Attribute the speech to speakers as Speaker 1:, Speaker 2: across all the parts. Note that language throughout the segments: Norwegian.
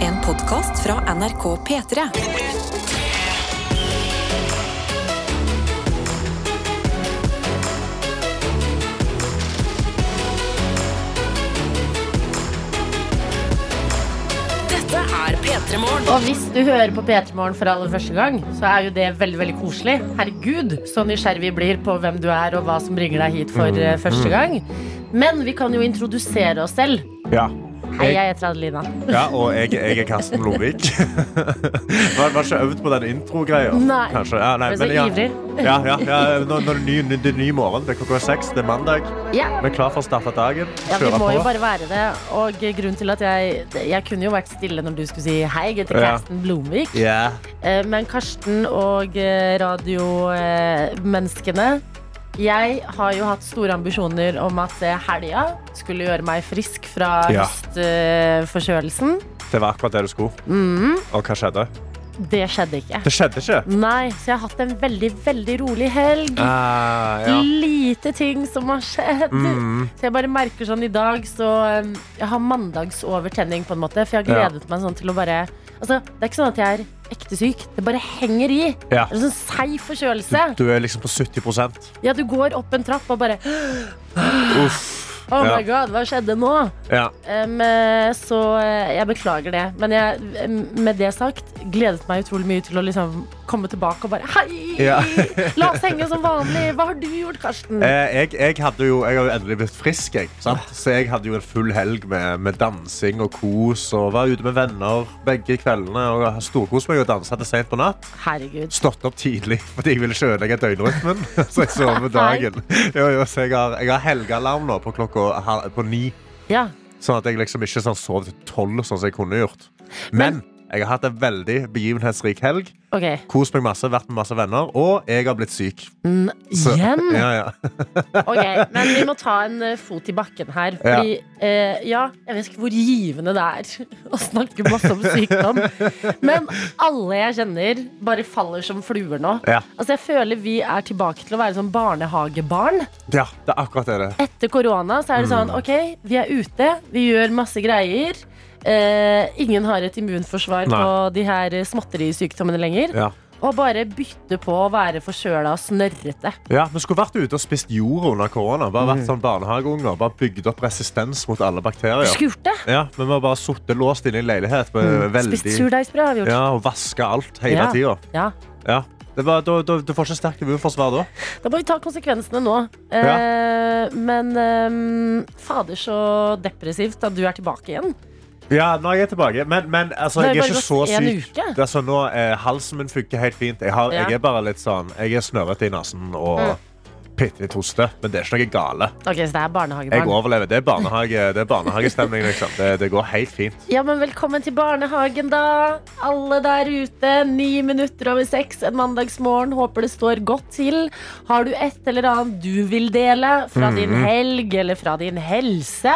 Speaker 1: En podkast fra NRK P3. Dette er P3 Morgen.
Speaker 2: Og hvis du hører på P3 Morgen for aller første gang, så er jo det veldig veldig koselig. Herregud, så nysgjerrig vi blir på hvem du er, og hva som bringer deg hit for eh, første
Speaker 3: Mm.
Speaker 2: gang. Men vi kan jo introdusere oss selv.
Speaker 3: Ja.
Speaker 2: Hei, jeg heter Adelina.
Speaker 3: ja, og jeg, jeg er Karsten Blomvik. var, var ikke øvd på den intro-greia.
Speaker 2: Nei.
Speaker 3: Kanskje. Ja, nei,
Speaker 2: Jeg er så
Speaker 3: men ja.
Speaker 2: ivrig.
Speaker 3: Ja, ja, ja. Nå, nå er det ny, ny, det er ny morgen. Det er klokka seks. Det er mandag.
Speaker 2: Ja.
Speaker 3: Vi er klar for å starte dagen.
Speaker 2: Ja, vi
Speaker 3: Kjøre
Speaker 2: må jo
Speaker 3: på.
Speaker 2: bare være det. Og grunnen til at jeg Jeg kunne jo vært stille når du skulle si hei, jeg heter
Speaker 3: Ja.
Speaker 2: Karsten Blomvik.
Speaker 3: Ja.
Speaker 2: Eh, Men Karsten og eh, radiomenneskene Jeg har jo hatt store ambisjoner om at eh, helga skulle gjøre meg frisk fra
Speaker 3: Ja.
Speaker 2: høstforkjølelsen. Mm.
Speaker 3: Det var akkurat det du skulle. Og hva skjedde?
Speaker 2: Det skjedde ikke.
Speaker 3: Det skjedde ikke.
Speaker 2: Nei, så jeg har hatt en veldig, veldig rolig helg.
Speaker 3: Ah, ja.
Speaker 2: Lite ting som har skjedd.
Speaker 3: Mm.
Speaker 2: Så jeg bare merker sånn i dag Så um, jeg har mandagsovertenning på en måte For jeg har gledet meg sånn til å bare Altså, det er ikke sånn at jeg er ekte syk Det bare henger i Det
Speaker 3: Ja.
Speaker 2: er en sånn seig forkjølelse
Speaker 3: Du er liksom på 70
Speaker 2: Ja, du går opp en trapp og bare
Speaker 3: Uff.
Speaker 2: Oh
Speaker 3: Ja.
Speaker 2: my god, hva skjedde nå?
Speaker 3: Ja.
Speaker 2: Um, eh, så eh, jeg beklager det Men jeg, eh, med det sagt Gledet meg utrolig mye til å liksom Komme tilbake og bare Hei,
Speaker 3: Ja.
Speaker 2: la oss henge som vanlig Hva har du gjort, Karsten?
Speaker 3: Eh, Jeg, jeg, hadde jo, jeg har jo endelig blitt frisk, jeg, sant? så jeg hadde jo en full helg med, med dansing og kos. Og var ute med venner begge kveldene og storkoste meg og dansa til seint på natt.
Speaker 2: Herregud
Speaker 3: Stått opp tidlig fordi jeg ville ikke ødelegge døgnrytmen. Så jeg sov med dagen. Jo, jo, så jeg har, jeg har helgealarm nå på klokka hal- på ni,
Speaker 2: Ja,
Speaker 3: sånn at jeg liksom ikke sånn sov til tolv, sånn som jeg kunne gjort. Men jeg har hatt en veldig begivenhetsrik helg.
Speaker 2: ok
Speaker 3: Kost meg masse, vært med masse venner, og jeg har blitt syk.
Speaker 2: N-
Speaker 3: Så-
Speaker 2: Igjen?
Speaker 3: Ja, ja.
Speaker 2: Ok, men vi må ta en eh, fot i bakken her.
Speaker 3: Ja.
Speaker 2: Fordi, eh, ja, jeg vet ikke hvor givende det er å snakke masse om sykdom. Men alle jeg kjenner, bare faller som fluer nå.
Speaker 3: Ja.
Speaker 2: Altså, jeg føler vi er tilbake til å være sånn barnehagebarn.
Speaker 3: ja, det er akkurat det det. er.
Speaker 2: Etter korona så er det
Speaker 3: Mm.
Speaker 2: sånn, ok, vi er ute, vi gjør masse greier. Eh, ingen har et immunforsvar
Speaker 3: Nei.
Speaker 2: på de her eh, småtterisykdommene lenger.
Speaker 3: Ja.
Speaker 2: Og bare bytte på å være forkjøla og snørrete.
Speaker 3: Ja, Vi skulle vært ute og spist jord under korona. Bare
Speaker 2: Mm.
Speaker 3: vært sånn barnehageunger. Bare bygd opp resistens mot alle bakterier.
Speaker 2: Skulle gjort det.
Speaker 3: Ja, Men vi har bare sittet låst inne i en leilighet med veldig
Speaker 2: Spist surdeigsbrød har vi gjort.
Speaker 3: Ja, og vaska alt hele
Speaker 2: Ja.
Speaker 3: tida.
Speaker 2: Ja.
Speaker 3: Ja. Det var, da, da, du får ikke sterkt immunforsvar da.
Speaker 2: Da må vi ta konsekvensene nå. Eh, Men eh, fader, så depressivt at du er tilbake igjen.
Speaker 3: Ja, nå er jeg tilbake. Men, men altså,
Speaker 2: Nå har
Speaker 3: jeg er
Speaker 2: det
Speaker 3: ikke så
Speaker 2: bare gått en
Speaker 3: syk.
Speaker 2: uke.
Speaker 3: Det er sånn, nå, eh, halsen min funker helt fint. Jeg, har,
Speaker 2: Ja. Mm.
Speaker 3: jeg er bare litt sånn Jeg er snørrete i nesen og bitte litt hoste. Men det er ikke noe gale.
Speaker 2: Ok, Så det er
Speaker 3: Jeg
Speaker 2: barnehagebarn.
Speaker 3: overlever. Det er, barnehage, det er barnehagestemning, liksom. Det, det går helt fint.
Speaker 2: Ja, men Velkommen til barnehagen, da. Alle der ute. Ni minutter over seks en mandagsmorgen. Håper det står godt til. Har du et eller annet du vil dele fra din helg eller fra din helse?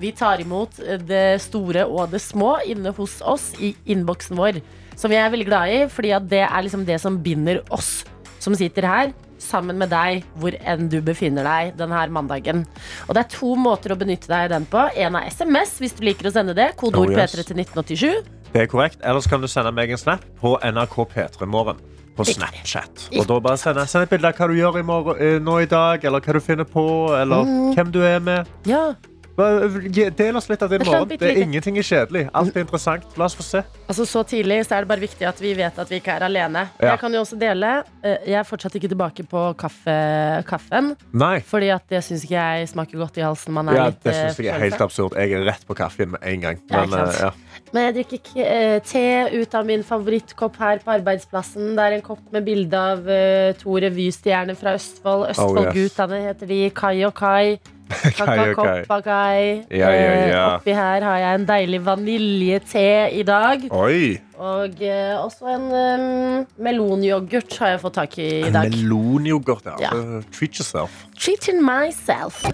Speaker 2: Vi tar imot det store og det små inne hos oss i innboksen vår. Som jeg er veldig glad i, fordi at det er liksom det som binder oss. som sitter her sammen med deg hvor enn du befinner deg denne mandagen. Og det er to måter å benytte deg av den på. En er SMS, hvis du liker å sende det. Kodeord
Speaker 3: Oh, yes.
Speaker 2: P3 til 1987.
Speaker 3: Det er korrekt. Ellers kan du sende meg en snap på NRK P3morgen på Snapchat. Og da bare send, send et bilde av hva du gjør i morgen, eh, nå i dag, eller hva du finner på, eller
Speaker 2: Mm.
Speaker 3: hvem du er med.
Speaker 2: Ja.
Speaker 3: Bare, eh, gi- Del oss litt av din
Speaker 2: Det er sant,
Speaker 3: morgen. Det er
Speaker 2: bitte lite.
Speaker 3: ingenting er kjedelig. Alt er interessant. La oss få se.
Speaker 2: Altså Så tidlig så er det bare viktig at vi vet at vi ikke er alene.
Speaker 3: Ja.
Speaker 2: Jeg kan jo også dele. eh, Jeg er fortsatt ikke tilbake på kaffe, kaffen.
Speaker 3: Nei.
Speaker 2: Fordi at det syns ikke jeg smaker godt i halsen. Man er
Speaker 3: Ja,
Speaker 2: litt
Speaker 3: det
Speaker 2: eh,
Speaker 3: syns jeg er
Speaker 2: forkjølet.
Speaker 3: helt absurd. Jeg er rett på kaffen med en gang.
Speaker 2: Ja,
Speaker 3: Men,
Speaker 2: ikke
Speaker 3: eh, ja.
Speaker 2: sant. Men jeg drikker k- eh, te ut av min favorittkopp her på arbeidsplassen. Det er en kopp med bilde av eh, to revystjerner fra Østfold. Østfoldgutane heter de. Kai og Kai.
Speaker 3: Oh, Kai og Kai.
Speaker 2: Kakakoppa Kai.
Speaker 3: Ja, ja, ja.
Speaker 2: Eh, Oppi her har jeg en deilig vaniljete i dag.
Speaker 3: Oi!
Speaker 2: Og eh, også en eh, melonyoghurt har jeg fått tak i i dag.
Speaker 3: Melonyoghurt. Ja.
Speaker 2: Ja.
Speaker 3: Eh, Treat yourself.
Speaker 2: Treating myself.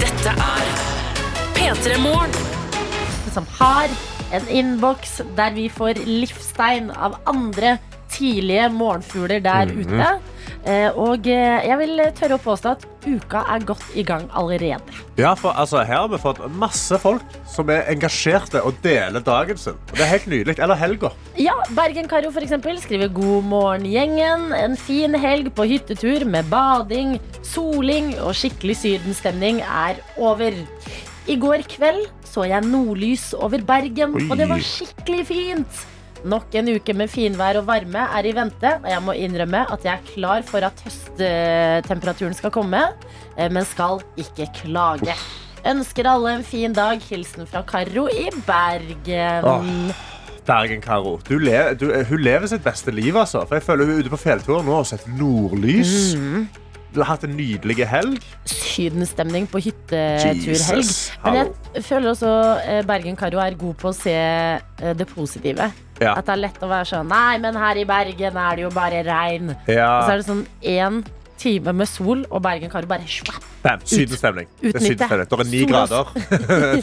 Speaker 1: Dette er P3 Morgen.
Speaker 2: som har en innboks der vi får livstegn av andre tidlige morgenfugler der ute. Eh, Og eh, jeg vil tørre å påstå at uka er godt i gang allerede.
Speaker 3: Ja, for altså, Her har vi fått masse folk som er engasjerte og deler dagen sin. Og det er helt nydelig. Eller helga.
Speaker 2: Ja, Bergen-Caro for eksempel skriver God morgen gjengen En fin helg på hyttetur med bading, soling og skikkelig sydenstemning er over I går kveld så jeg nordlys over Bergen
Speaker 3: Oi.
Speaker 2: Og det var skikkelig fint Nok en uke med finvær og varme er i vente Og jeg må innrømme at jeg er klar for at høsttemperaturen skal komme eh, Men skal ikke klage Ønsker alle en fin dag Hilsen fra Karo i Bergen
Speaker 3: Åh. Bergen Karo. Du le, du, eh, hun lever sitt beste liv, altså. For jeg føler hun er ute på fjelltur nå og har sett nordlys.
Speaker 2: Mhm.
Speaker 3: Du har hatt en nydelig helg.
Speaker 2: sydenstemning på hytteturhelg.
Speaker 3: Jesus,
Speaker 2: Men
Speaker 3: hallo.
Speaker 2: jeg føler også eh, Bergen-Karo er god på å se eh, det positive.
Speaker 3: Ja.
Speaker 2: At det er lett å være sånn Nei, men her i Bergen er det jo bare regn. Og så
Speaker 3: Ja.
Speaker 2: er det sånn én time med sol, og Bergen-Karo bare svapp.
Speaker 3: Bam. Sydenstemning. Det er
Speaker 2: Utnytte.
Speaker 3: sydenstemning. Det er ni
Speaker 2: Sol-
Speaker 3: grader.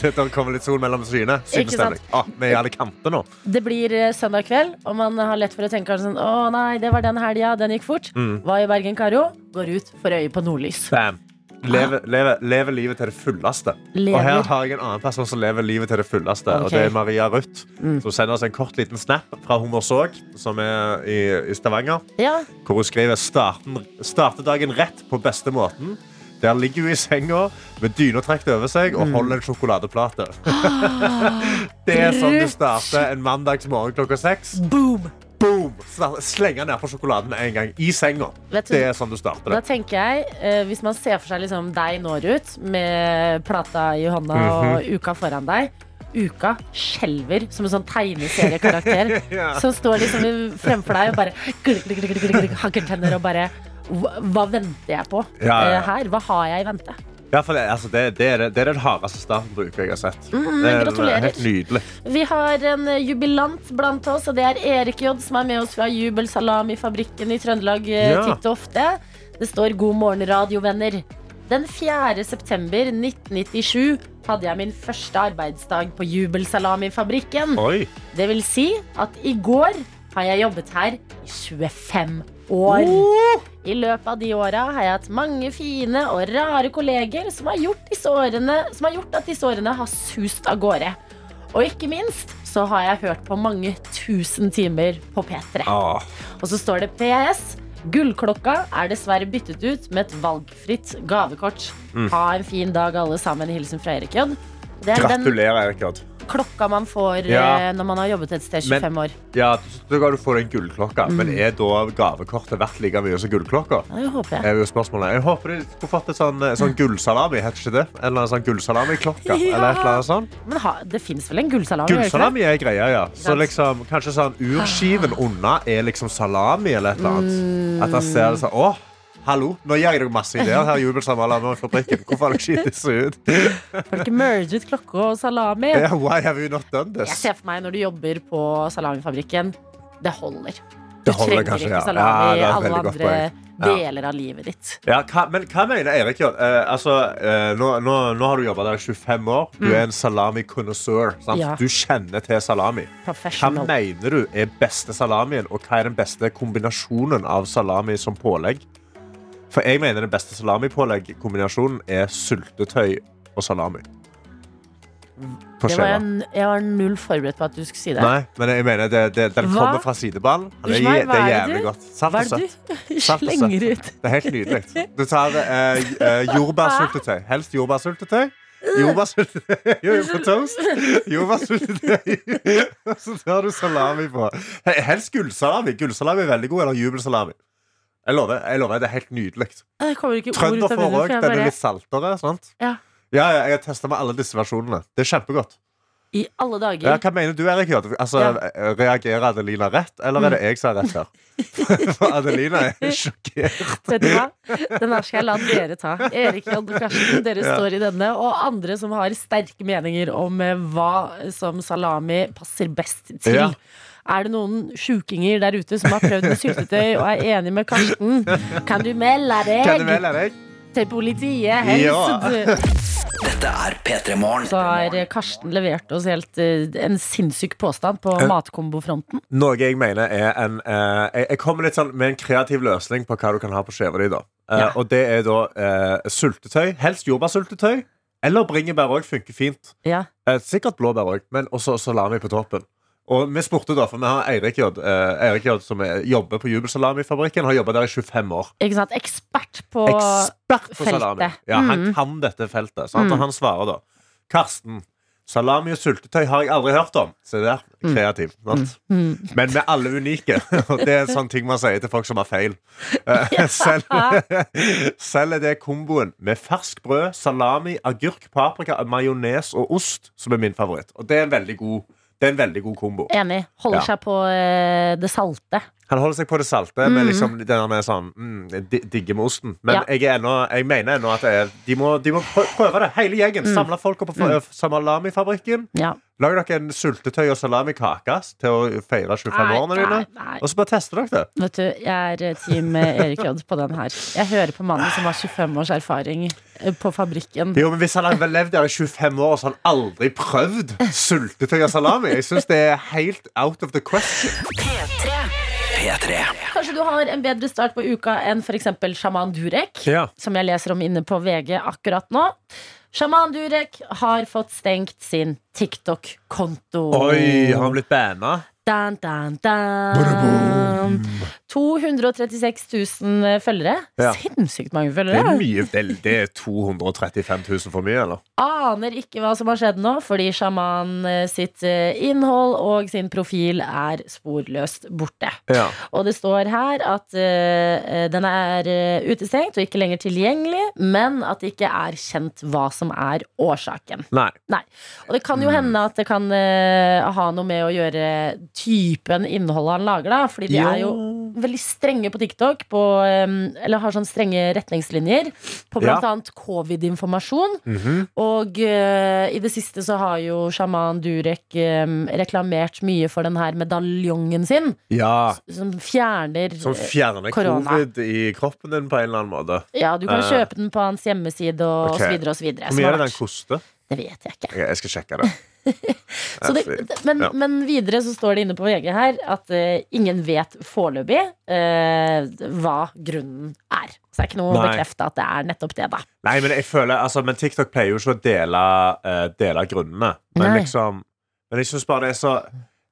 Speaker 3: det kommer litt sol mellom skyene. Sydenstemning. Ah, vi er i alle kanter nå.
Speaker 2: Det blir eh, søndag kveld, og man har lett for å tenke sånn Å nei, det var den helga, den gikk fort.
Speaker 3: Mm.
Speaker 2: Hva i Bergen-Karo? Går ut for øye på nordlys.
Speaker 3: Bam. Leve, leve, leve livet til det fulleste.
Speaker 2: Lever.
Speaker 3: Og her har jeg en annen person som lever livet til det fulleste. Og
Speaker 2: Ok. Mm.
Speaker 3: det er Maria Ruth, som sender oss en kort liten snap fra Hummersåk, som er i, i Stavanger.
Speaker 2: Ja,
Speaker 3: Hvor hun skriver starten, starter dagen rett på beste måten. Der ligger hun i senga med dyna trukket over seg og holder en sjokoladeplate. det er sånn du starter en mandags morgen klokka seks.
Speaker 2: boom!
Speaker 3: Boom! Sla- Slenger nedpå sjokoladen med en gang. I senga.
Speaker 2: Vet du-
Speaker 3: Det er sånn du starter
Speaker 2: Da
Speaker 3: det.
Speaker 2: tenker jeg, eh, Hvis man ser for seg liksom deg nå, Ruth, med plata i hånda og
Speaker 3: Mhm.
Speaker 2: uka foran deg Uka skjelver som en sånn tegneseriekarakter
Speaker 3: Ja.
Speaker 2: som står liksom i- fremfor deg og bare glikk, glikk, glikk, glikk, glikk, hakker tenner og bare hva, hva venter jeg på
Speaker 3: Ja, ja, ja.
Speaker 2: eh, her? Hva har jeg i vente?
Speaker 3: Ja, for det, altså, det, det, er, det- det er den hardeste starten på uka jeg har sett. det er
Speaker 2: Mm, gratulerer.
Speaker 3: helt nydelig.
Speaker 2: Vi har en eh, jubilant blant oss, og det er Erik J, som er med oss fra Jubelsalamifabrikken i Trøndelag eh,
Speaker 3: Ja.
Speaker 2: titt og ofte. Det står 'God morgen, radiovenner'. Den 4. september 1997 hadde jeg min første arbeidsdag på Jubelsalamifabrikken.
Speaker 3: Oi.
Speaker 2: Det vil si at i går har jeg jobbet her i 25 år.
Speaker 3: Oh!
Speaker 2: I løpet av de åra har jeg hatt mange fine og rare kolleger som har gjort, disse årene, som har gjort at disse årene har sust av gårde. Og ikke minst så har jeg hørt på mange tusen timer på P3.
Speaker 3: Ah.
Speaker 2: Og så står det PS. Gullklokka er dessverre byttet ut med et valgfritt gavekort.
Speaker 3: Mm.
Speaker 2: Ha en fin dag, alle sammen. Hilsen fra Erik J. Det er den
Speaker 3: Gratulerer, Erik Odd.
Speaker 2: klokka man får
Speaker 3: Ja.
Speaker 2: eh, når man har jobbet et sted
Speaker 3: Men-
Speaker 2: 25 år. Mm.
Speaker 3: Ja, så kan du få den gullklokka, men er da gavekortet verdt like mye som gullklokka?
Speaker 2: Ja, det håper jeg.
Speaker 3: er jo spørsmålet. Jeg håper de skulle fått et sånn, sånn gullsalami, heter ikke det? Eller en sånn gullsalami-klokka,
Speaker 2: Ja.
Speaker 3: eller et eller annet sånt.
Speaker 2: Men ha, det fins vel en gullsalami? gjør det ikke det?
Speaker 3: Eh. Gullsalami er greia, ja. Så
Speaker 2: Sant.
Speaker 3: liksom, kanskje sånn urskiven unna er liksom salami eller et eller
Speaker 2: Mm.
Speaker 3: annet. At jeg ser det sånn, åh, hallo, nå gir jeg deg masse ideer her, jubelsalami i fabrikken. Hvorfor har dere skitt disse ut?
Speaker 2: Har du ikke merget klokke og salami?
Speaker 3: Yeah, Why have you not done
Speaker 2: Jeg
Speaker 3: this?
Speaker 2: ser for meg når du jobber på salamifabrikken. Det holder. Du
Speaker 3: Det holder
Speaker 2: trenger
Speaker 3: kanskje,
Speaker 2: ikke
Speaker 3: ja. Ja,
Speaker 2: salami
Speaker 3: det
Speaker 2: i
Speaker 3: er et
Speaker 2: alle
Speaker 3: veldig godt
Speaker 2: andre
Speaker 3: Ja.
Speaker 2: deler av livet ditt.
Speaker 3: Ja, hva, men hva mener Erik? Jørn? Eh, altså, eh, nå, nå, nå har du jobba der i 25 år. Du er en salami-konnoisseur. sant?
Speaker 2: Mm. Ja.
Speaker 3: Du kjenner til salami. Hva
Speaker 2: Professional.
Speaker 3: mener du er beste salamien, og hva er den beste kombinasjonen av salami som pålegg? For jeg mener den beste salamipålegg-kombinasjonen er syltetøy og salami.
Speaker 2: Det var
Speaker 3: Forskjellig.
Speaker 2: jeg, n- jeg var null forberedt på at du skulle si det.
Speaker 3: Nei, men jeg mener det, det, den
Speaker 2: Hva?
Speaker 3: kommer fra sideballen. og Det, er
Speaker 2: Unnskyld meg,
Speaker 3: jæ- det er
Speaker 2: hva er det
Speaker 3: jævlig
Speaker 2: du-
Speaker 3: godt. Sant altså?
Speaker 2: Hva er
Speaker 3: og
Speaker 2: det
Speaker 3: søtt.
Speaker 2: du
Speaker 3: Satt og
Speaker 2: slenger
Speaker 3: satt.
Speaker 2: ut?
Speaker 3: Det er helt nydelig. Du tar eh, j- eh, jordbærsyltetøy. Helst jordbærsyltetøy. Jordbærsyltetøy Jo, jo, på toast. Jordbærsyltetøy. Og så tar du salami på. He- Helst gullsalami. Gullsalami er veldig god, eller jubelsalami. Jeg lover, jeg lover, det er helt nydelig.
Speaker 2: Det kommer ikke ord ut av
Speaker 3: Trønderfòr
Speaker 2: munnen.
Speaker 3: òg.
Speaker 2: for jeg
Speaker 3: Den er
Speaker 2: Bare,
Speaker 3: litt saltere. Sant?
Speaker 2: Ja.
Speaker 3: Ja, ja, jeg har testa med alle disse versjonene. Det er kjempegodt.
Speaker 2: I alle dager.
Speaker 3: Ja, hva mener du, Erik? Hjort? Altså, Reagerer Adelina rett, eller
Speaker 2: Mm.
Speaker 3: er det jeg som har rett her? For Adelina er sjokkert.
Speaker 2: Vet du hva? Den her skal jeg la dere ta. Erik Jan og Karsten, dere
Speaker 3: Ja.
Speaker 2: står i denne. Og andre som har sterke meninger om eh, hva som salami passer best til.
Speaker 3: Ja.
Speaker 2: Er det noen sjukinger der ute som har prøvd med syltetøy og er enig med Karsten? Kan du melde
Speaker 3: Kan du
Speaker 2: deg
Speaker 3: melde deg?
Speaker 2: til politiet, helst?
Speaker 3: Ja.
Speaker 4: Dette er P3 Morgen.
Speaker 2: Så har Karsten levert oss helt eh, en sinnssyk påstand på
Speaker 3: Eh.
Speaker 2: matkombofronten.
Speaker 3: Noe jeg mener er en eh, jeg, jeg kommer litt sånn med en kreativ løsning på hva du kan ha på skiva di. da Eh,
Speaker 2: Ja.
Speaker 3: Og det er da eh, sultetøy. Helst jordbærsyltetøy. Eller bringebær òg funker fint.
Speaker 2: Ja.
Speaker 3: Eh, sikkert blåbær òg, men også salami på toppen. Og vi spurte da, for vi har Eirik J, eh, Eirik J som er, jobber på Jubelsalamifabrikken. Har jobba der i 25 år.
Speaker 2: Ikke sant? Ekspert på
Speaker 3: Ekspert på
Speaker 2: feltet.
Speaker 3: salami. Ja, han
Speaker 2: Mm.
Speaker 3: kan dette feltet. Sant?
Speaker 2: Mm.
Speaker 3: Og han svarer da Karsten, salami og sultetøy har jeg aldri hørt om. Se der. Kreativ. Sant?
Speaker 2: Mm.
Speaker 3: Men vi er alle unike. Og det er en sånn ting man sier til folk som har feil. Eh, Selv, selv er det komboen med fersk brød, salami, agurk, paprika, majones og ost som er min favoritt. Og det er en veldig god, det er en veldig god kombo.
Speaker 2: Enig. Holder
Speaker 3: Ja.
Speaker 2: seg på eh, det salte.
Speaker 3: Han holder seg på det salte, men liksom det der med sånn mm, di- digge med osten. Men
Speaker 2: Mm. Ja.
Speaker 3: jeg, er ennå, jeg mener ennå at det er, de, må, de må prø- prøve det, hele gjengen. Samle folk opp på fa- salamifabrikken.
Speaker 2: Mm. Ja.
Speaker 3: Lag dere en sultetøy- og salamikake til å feire 25-årene dine.
Speaker 2: nei, nei.
Speaker 3: Og så bare teste dere det.
Speaker 2: Vet du, jeg er team eh, Erik J på den her. Jeg hører på mannen som har 25 års erfaring eh, på fabrikken.
Speaker 3: Jo, men Hvis han hadde levd der i 25 år og så han aldri prøvd sultetøy og salami Jeg synes det er helt out of the question.
Speaker 1: P3.
Speaker 4: P3.
Speaker 2: Kanskje du har en bedre start på uka enn f.eks. sjaman Durek,
Speaker 3: Ja.
Speaker 2: som jeg leser om inne på VG akkurat nå. Sjaman Durek har fått stengt sin TikTok-konto.
Speaker 3: Oi, har han blitt banna?
Speaker 2: Dan, dan, dan. 236 000 eh, følgere.
Speaker 3: Ja.
Speaker 2: Sinnssykt mange
Speaker 3: Det er
Speaker 2: følgere.
Speaker 3: mye. Det er- Det er 235 000 for mye, eller?
Speaker 2: Aner ikke hva som har skjedd nå, fordi sjaman eh, sitt eh, innhold og sin profil er sporløst borte.
Speaker 3: Ja.
Speaker 2: Og det står her at eh, den er eh, utestengt og ikke lenger tilgjengelig, men at det ikke er kjent hva som er årsaken.
Speaker 3: Nei.
Speaker 2: Nei. Og det
Speaker 3: Mm.
Speaker 2: kan jo hende at det kan eh, ha noe med å gjøre typen innhold han lager, da. Fordi de er jo veldig strenge på TikTok, på, eh, eller har sånn strenge retningslinjer på blant annet covid-informasjon.
Speaker 3: Mhm.
Speaker 2: Og eh, i det siste så har jo sjaman Durek eh, reklamert mye for den her medaljongen sin,
Speaker 3: Ja.
Speaker 2: som fjerner eh,
Speaker 3: Som fjerner
Speaker 2: Korona.
Speaker 3: covid i kroppen din på en eller annen måte.
Speaker 2: Ja, du kan
Speaker 3: Eh.
Speaker 2: kjøpe den på hans hjemmeside og
Speaker 3: Ok.
Speaker 2: så videre og så videre.
Speaker 3: Hvor mye er det
Speaker 2: Smart.
Speaker 3: den koster?
Speaker 2: Det vet jeg ikke.
Speaker 3: Ok, Jeg skal sjekke det.
Speaker 2: Så det, men,
Speaker 3: Ja.
Speaker 2: men videre så står det inne på VG her at eh, ingen vet foreløpig eh, hva grunnen er. Så det er ikke noe å
Speaker 3: Nei.
Speaker 2: bekrefte at det er nettopp det, da.
Speaker 3: Nei, men jeg føler altså, Men TikTok pleier jo ikke å dele, eh, dele grunnene. Men
Speaker 2: Nei.
Speaker 3: liksom Men jeg syns bare det er så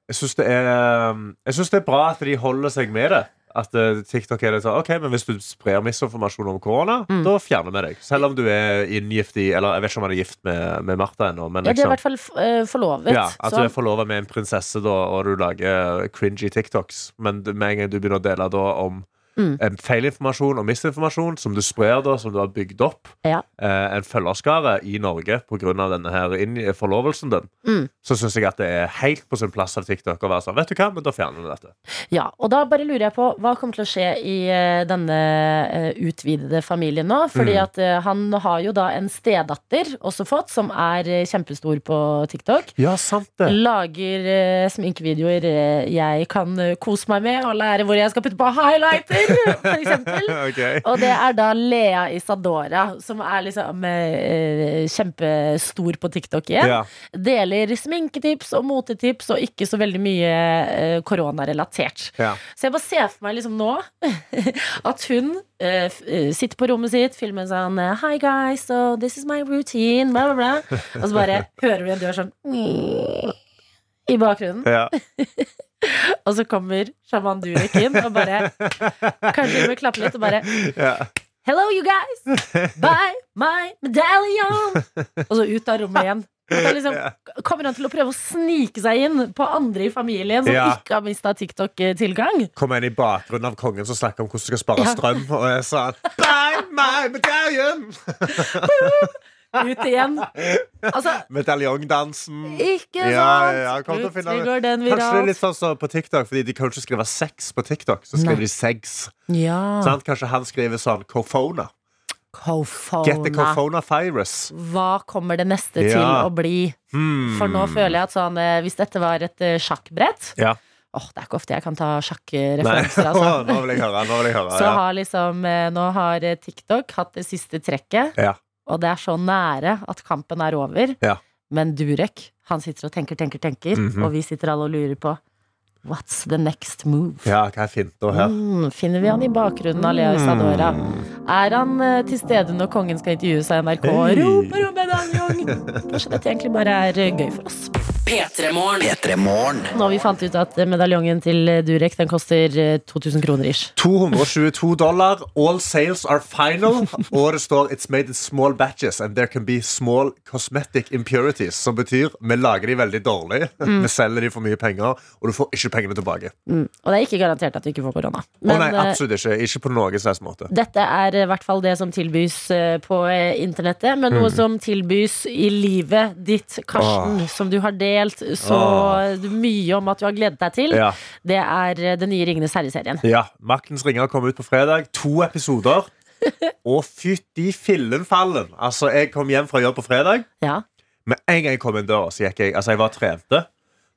Speaker 3: Jeg syns det er um, Jeg synes det er bra at de holder seg med det. At eh, TikTok er det sånn OK, men hvis du sprer misinformasjon om korona,
Speaker 2: Mm.
Speaker 3: da fjerner vi deg. Selv om du er inngift i Eller jeg vet ikke om han er gift med, med Martha ennå, men
Speaker 2: Ja, de er i
Speaker 3: liksom
Speaker 2: hvert fall eh, forlovet.
Speaker 3: ja, At
Speaker 2: så
Speaker 3: du er forlova med en prinsesse, da, og du lager eh, cringy TikToks. Men du- med en gang du begynner å dele da om
Speaker 2: Mm.
Speaker 3: eh, feilinformasjon og misinformasjon som du sprer, da, som du har bygd opp
Speaker 2: Ja.
Speaker 3: eh, en følgerskare i Norge pga. denne her inn- forlovelsen din,
Speaker 2: Mm.
Speaker 3: så syns jeg at det er helt på sin plass av TikTok å være sånn Vet du hva, men da fjerner vi dette.
Speaker 2: Ja, og da bare lurer jeg på hva kommer til å skje i eh, denne eh, utvidede familien nå? Fordi
Speaker 3: Mm.
Speaker 2: at eh, han har jo da en stedatter også fått, som er eh, kjempestor på TikTok.
Speaker 3: Ja, sant det.
Speaker 2: Lager eh, sminkevideoer eh, jeg kan eh, kose meg med, og lære hvor jeg skal putte på highlighter, for eksempel.
Speaker 3: Ok.
Speaker 2: Og det er da Lea Isadora, som er liksom eh, kjempestor på TikTok igjen.
Speaker 3: Ja.
Speaker 2: Deler sminketips og motetips og ikke så veldig mye eh, koronarelatert.
Speaker 3: Ja.
Speaker 2: Så jeg bare ser for meg liksom nå at hun eh, f- eh, sitter på rommet sitt, filmer en sånn eh, Hi guys, so this is my routine, bla, bla, bla. Og så bare hører du en dør sånn i bakgrunnen.
Speaker 3: Ja.
Speaker 2: Og så kommer sjaman Durek inn og bare Kanskje hun vil klappe litt og bare
Speaker 3: Ja.
Speaker 2: Hello, you guys! Bye, my medallion! Og så ut av rommet igjen. Så liksom, kommer han til å prøve å snike seg inn på andre i familien som
Speaker 3: Ja.
Speaker 2: ikke har mista TikTok-tilgang?
Speaker 3: Kom en i bakgrunnen av kongen som snakker om hvordan du skal spare
Speaker 2: Ja.
Speaker 3: strøm, og sånn, jeg sa Buy my medallion!
Speaker 2: Ut igjen. Altså,
Speaker 3: Medaljongdansen.
Speaker 2: ikke
Speaker 3: Ja,
Speaker 2: sant?
Speaker 3: ja, ja, kom til å finne
Speaker 2: Plutselig
Speaker 3: det.
Speaker 2: går den
Speaker 3: Kanskje det er
Speaker 2: viralt.
Speaker 3: litt sånn som på TikTok, fordi de kan jo ikke skrive sex på TikTok. Så skriver
Speaker 2: Nei.
Speaker 3: de sex.
Speaker 2: Ja.
Speaker 3: Sant? Kanskje han skriver sånn Cofona. Get the
Speaker 2: Kofona.
Speaker 3: Cofona virus.
Speaker 2: Hva kommer det neste til
Speaker 3: Ja.
Speaker 2: å bli?
Speaker 3: Hmm.
Speaker 2: For nå føler jeg at sånn, eh, hvis dette var et eh, sjakkbrett
Speaker 3: Ja.
Speaker 2: Åh, Det er ikke ofte jeg kan ta
Speaker 3: Nei.
Speaker 2: sjakkreferanser, altså.
Speaker 3: Åh, nå vil jeg høre. Nå vil jeg høre
Speaker 2: Så
Speaker 3: ja.
Speaker 2: har liksom, eh, nå har eh, TikTok hatt det siste trekket
Speaker 3: Ja.
Speaker 2: og det er så nære at kampen er over.
Speaker 3: Ja.
Speaker 2: Men Durek, han sitter og tenker, tenker, tenker,
Speaker 3: Mhm.
Speaker 2: og vi sitter alle og lurer på What's the next move?
Speaker 3: Ja, Mm. hva er finta her?
Speaker 2: Mm, finner vi han i bakgrunnen av Lea Isadora? Er han eh, til stede når kongen skal intervjues av NRK?
Speaker 3: Hei.
Speaker 2: Roper om en annen gang! Kanskje dette egentlig bare er eh, gøy for oss.
Speaker 1: P3morgen.
Speaker 4: P3morgen.
Speaker 2: Nå har vi fant ut at eh, medaljongen til eh, Durek den koster eh, 2000 kroner ish.
Speaker 3: 222 dollar. All sales are final. Og det står It's made in small batches and there can be small cosmetic impurities. Som betyr vi lager de veldig dårlig, vi selger de for mye penger, og du får ikke pengene tilbake.
Speaker 2: Mm. Og det er ikke garantert at du ikke får korona.
Speaker 3: Å nei,
Speaker 2: eh,
Speaker 3: absolutt ikke. Ikke på noen slags måte.
Speaker 2: Dette er i hvert fall det som tilbys eh, på eh, internettet, men
Speaker 3: Mm.
Speaker 2: noe som tilbys i livet ditt, Karsten,
Speaker 3: Ah.
Speaker 2: som du har delt så mye om at du har gledet deg til.
Speaker 3: Ja.
Speaker 2: Det er eh, den nye Ringenes herre-serien.
Speaker 3: Ja, Maktens ringer kom ut på fredag. To episoder. Og fytti fillenfallen! Altså, jeg kom hjem fra jobb på fredag.
Speaker 2: Ja.
Speaker 3: Med en gang jeg kom inn døra, så gikk jeg Altså, jeg var trente.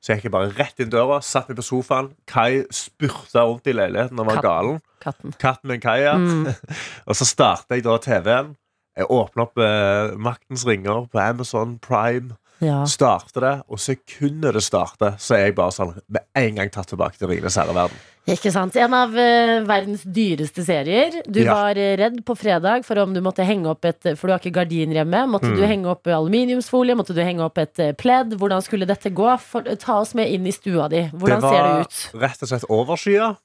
Speaker 3: Så gikk jeg bare rett inn døra, satt meg på sofaen. Kai spurta rundt i leiligheten og var
Speaker 2: Katten.
Speaker 3: galen.
Speaker 2: Katten.
Speaker 3: Katten min Kai, ja.
Speaker 2: Mm.
Speaker 3: og så starta jeg da TV-en. Jeg åpna opp eh, Maktens ringer på Amazon Prime.
Speaker 2: Ja.
Speaker 3: Starter det, og sekundet det starter, så er jeg bare sånn med en gang tatt tilbake til Rines herreverden.
Speaker 2: Ikke sant? En av eh, verdens dyreste serier. Du
Speaker 3: Ja.
Speaker 2: var eh, redd på fredag for om du måtte henge opp et For du har ikke gardiner hjemme. Måtte
Speaker 3: Mm.
Speaker 2: du henge opp aluminiumsfolie? Måtte du henge opp et eh, pledd? Hvordan skulle dette gå? For, ta oss med inn i stua di. Hvordan
Speaker 3: det
Speaker 2: ser
Speaker 3: var
Speaker 2: det ut? Mm.
Speaker 3: rett og slett overskya,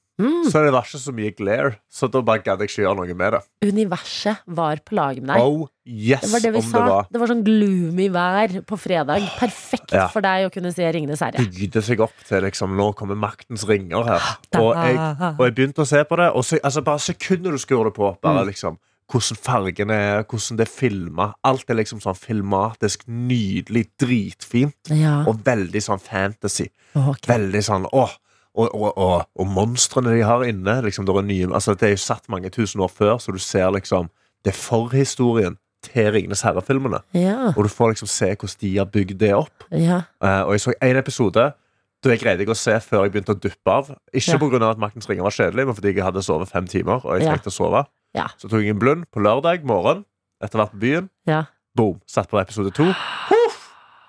Speaker 3: så det var ikke så mye glare. Så da bare gadd jeg ikke gjøre noe med det.
Speaker 2: Universet var på lag med deg.
Speaker 3: Oh yes,
Speaker 2: Det var det vi
Speaker 3: om
Speaker 2: sa.
Speaker 3: det var.
Speaker 2: sånn gloomy vær på fredag. Perfekt
Speaker 3: Ja.
Speaker 2: for deg å kunne se Ringenes herre.
Speaker 3: Bygde seg opp til liksom, nå kommer maktens ringer her.
Speaker 2: Da.
Speaker 3: Og jeg, og jeg begynte å se på det, og så, altså, bare sekundet du skrur det på, bare
Speaker 2: Mm.
Speaker 3: liksom hvordan fargene er, hvordan det er filma. Alt er liksom sånn filmatisk, nydelig, dritfint.
Speaker 2: Ja.
Speaker 3: Og veldig sånn fantasy.
Speaker 2: ok.
Speaker 3: Veldig sånn åh og, og, og, og monstrene de har inne liksom, det, er nye, altså, det er jo satt mange tusen år før Så du ser liksom Det er forhistorien til Ringenes herre-filmene
Speaker 2: Ja.
Speaker 3: Og du får liksom se hvordan de har bygd det opp
Speaker 2: ja.
Speaker 3: Eh, Og jeg så en episode Da jeg greide ikke å se før jeg begynte å duppe av
Speaker 2: Ja.
Speaker 3: Ikke på grunn av at Maktens ringer var kjedelig Men fordi jeg hadde sovet fem timer Og jeg
Speaker 2: Ja.
Speaker 3: trengte å sove
Speaker 2: Ja.
Speaker 3: Så tok jeg en blund på lørdag morgen Etter hvert på byen
Speaker 2: ja.
Speaker 3: Boom, satt på episode to Huff!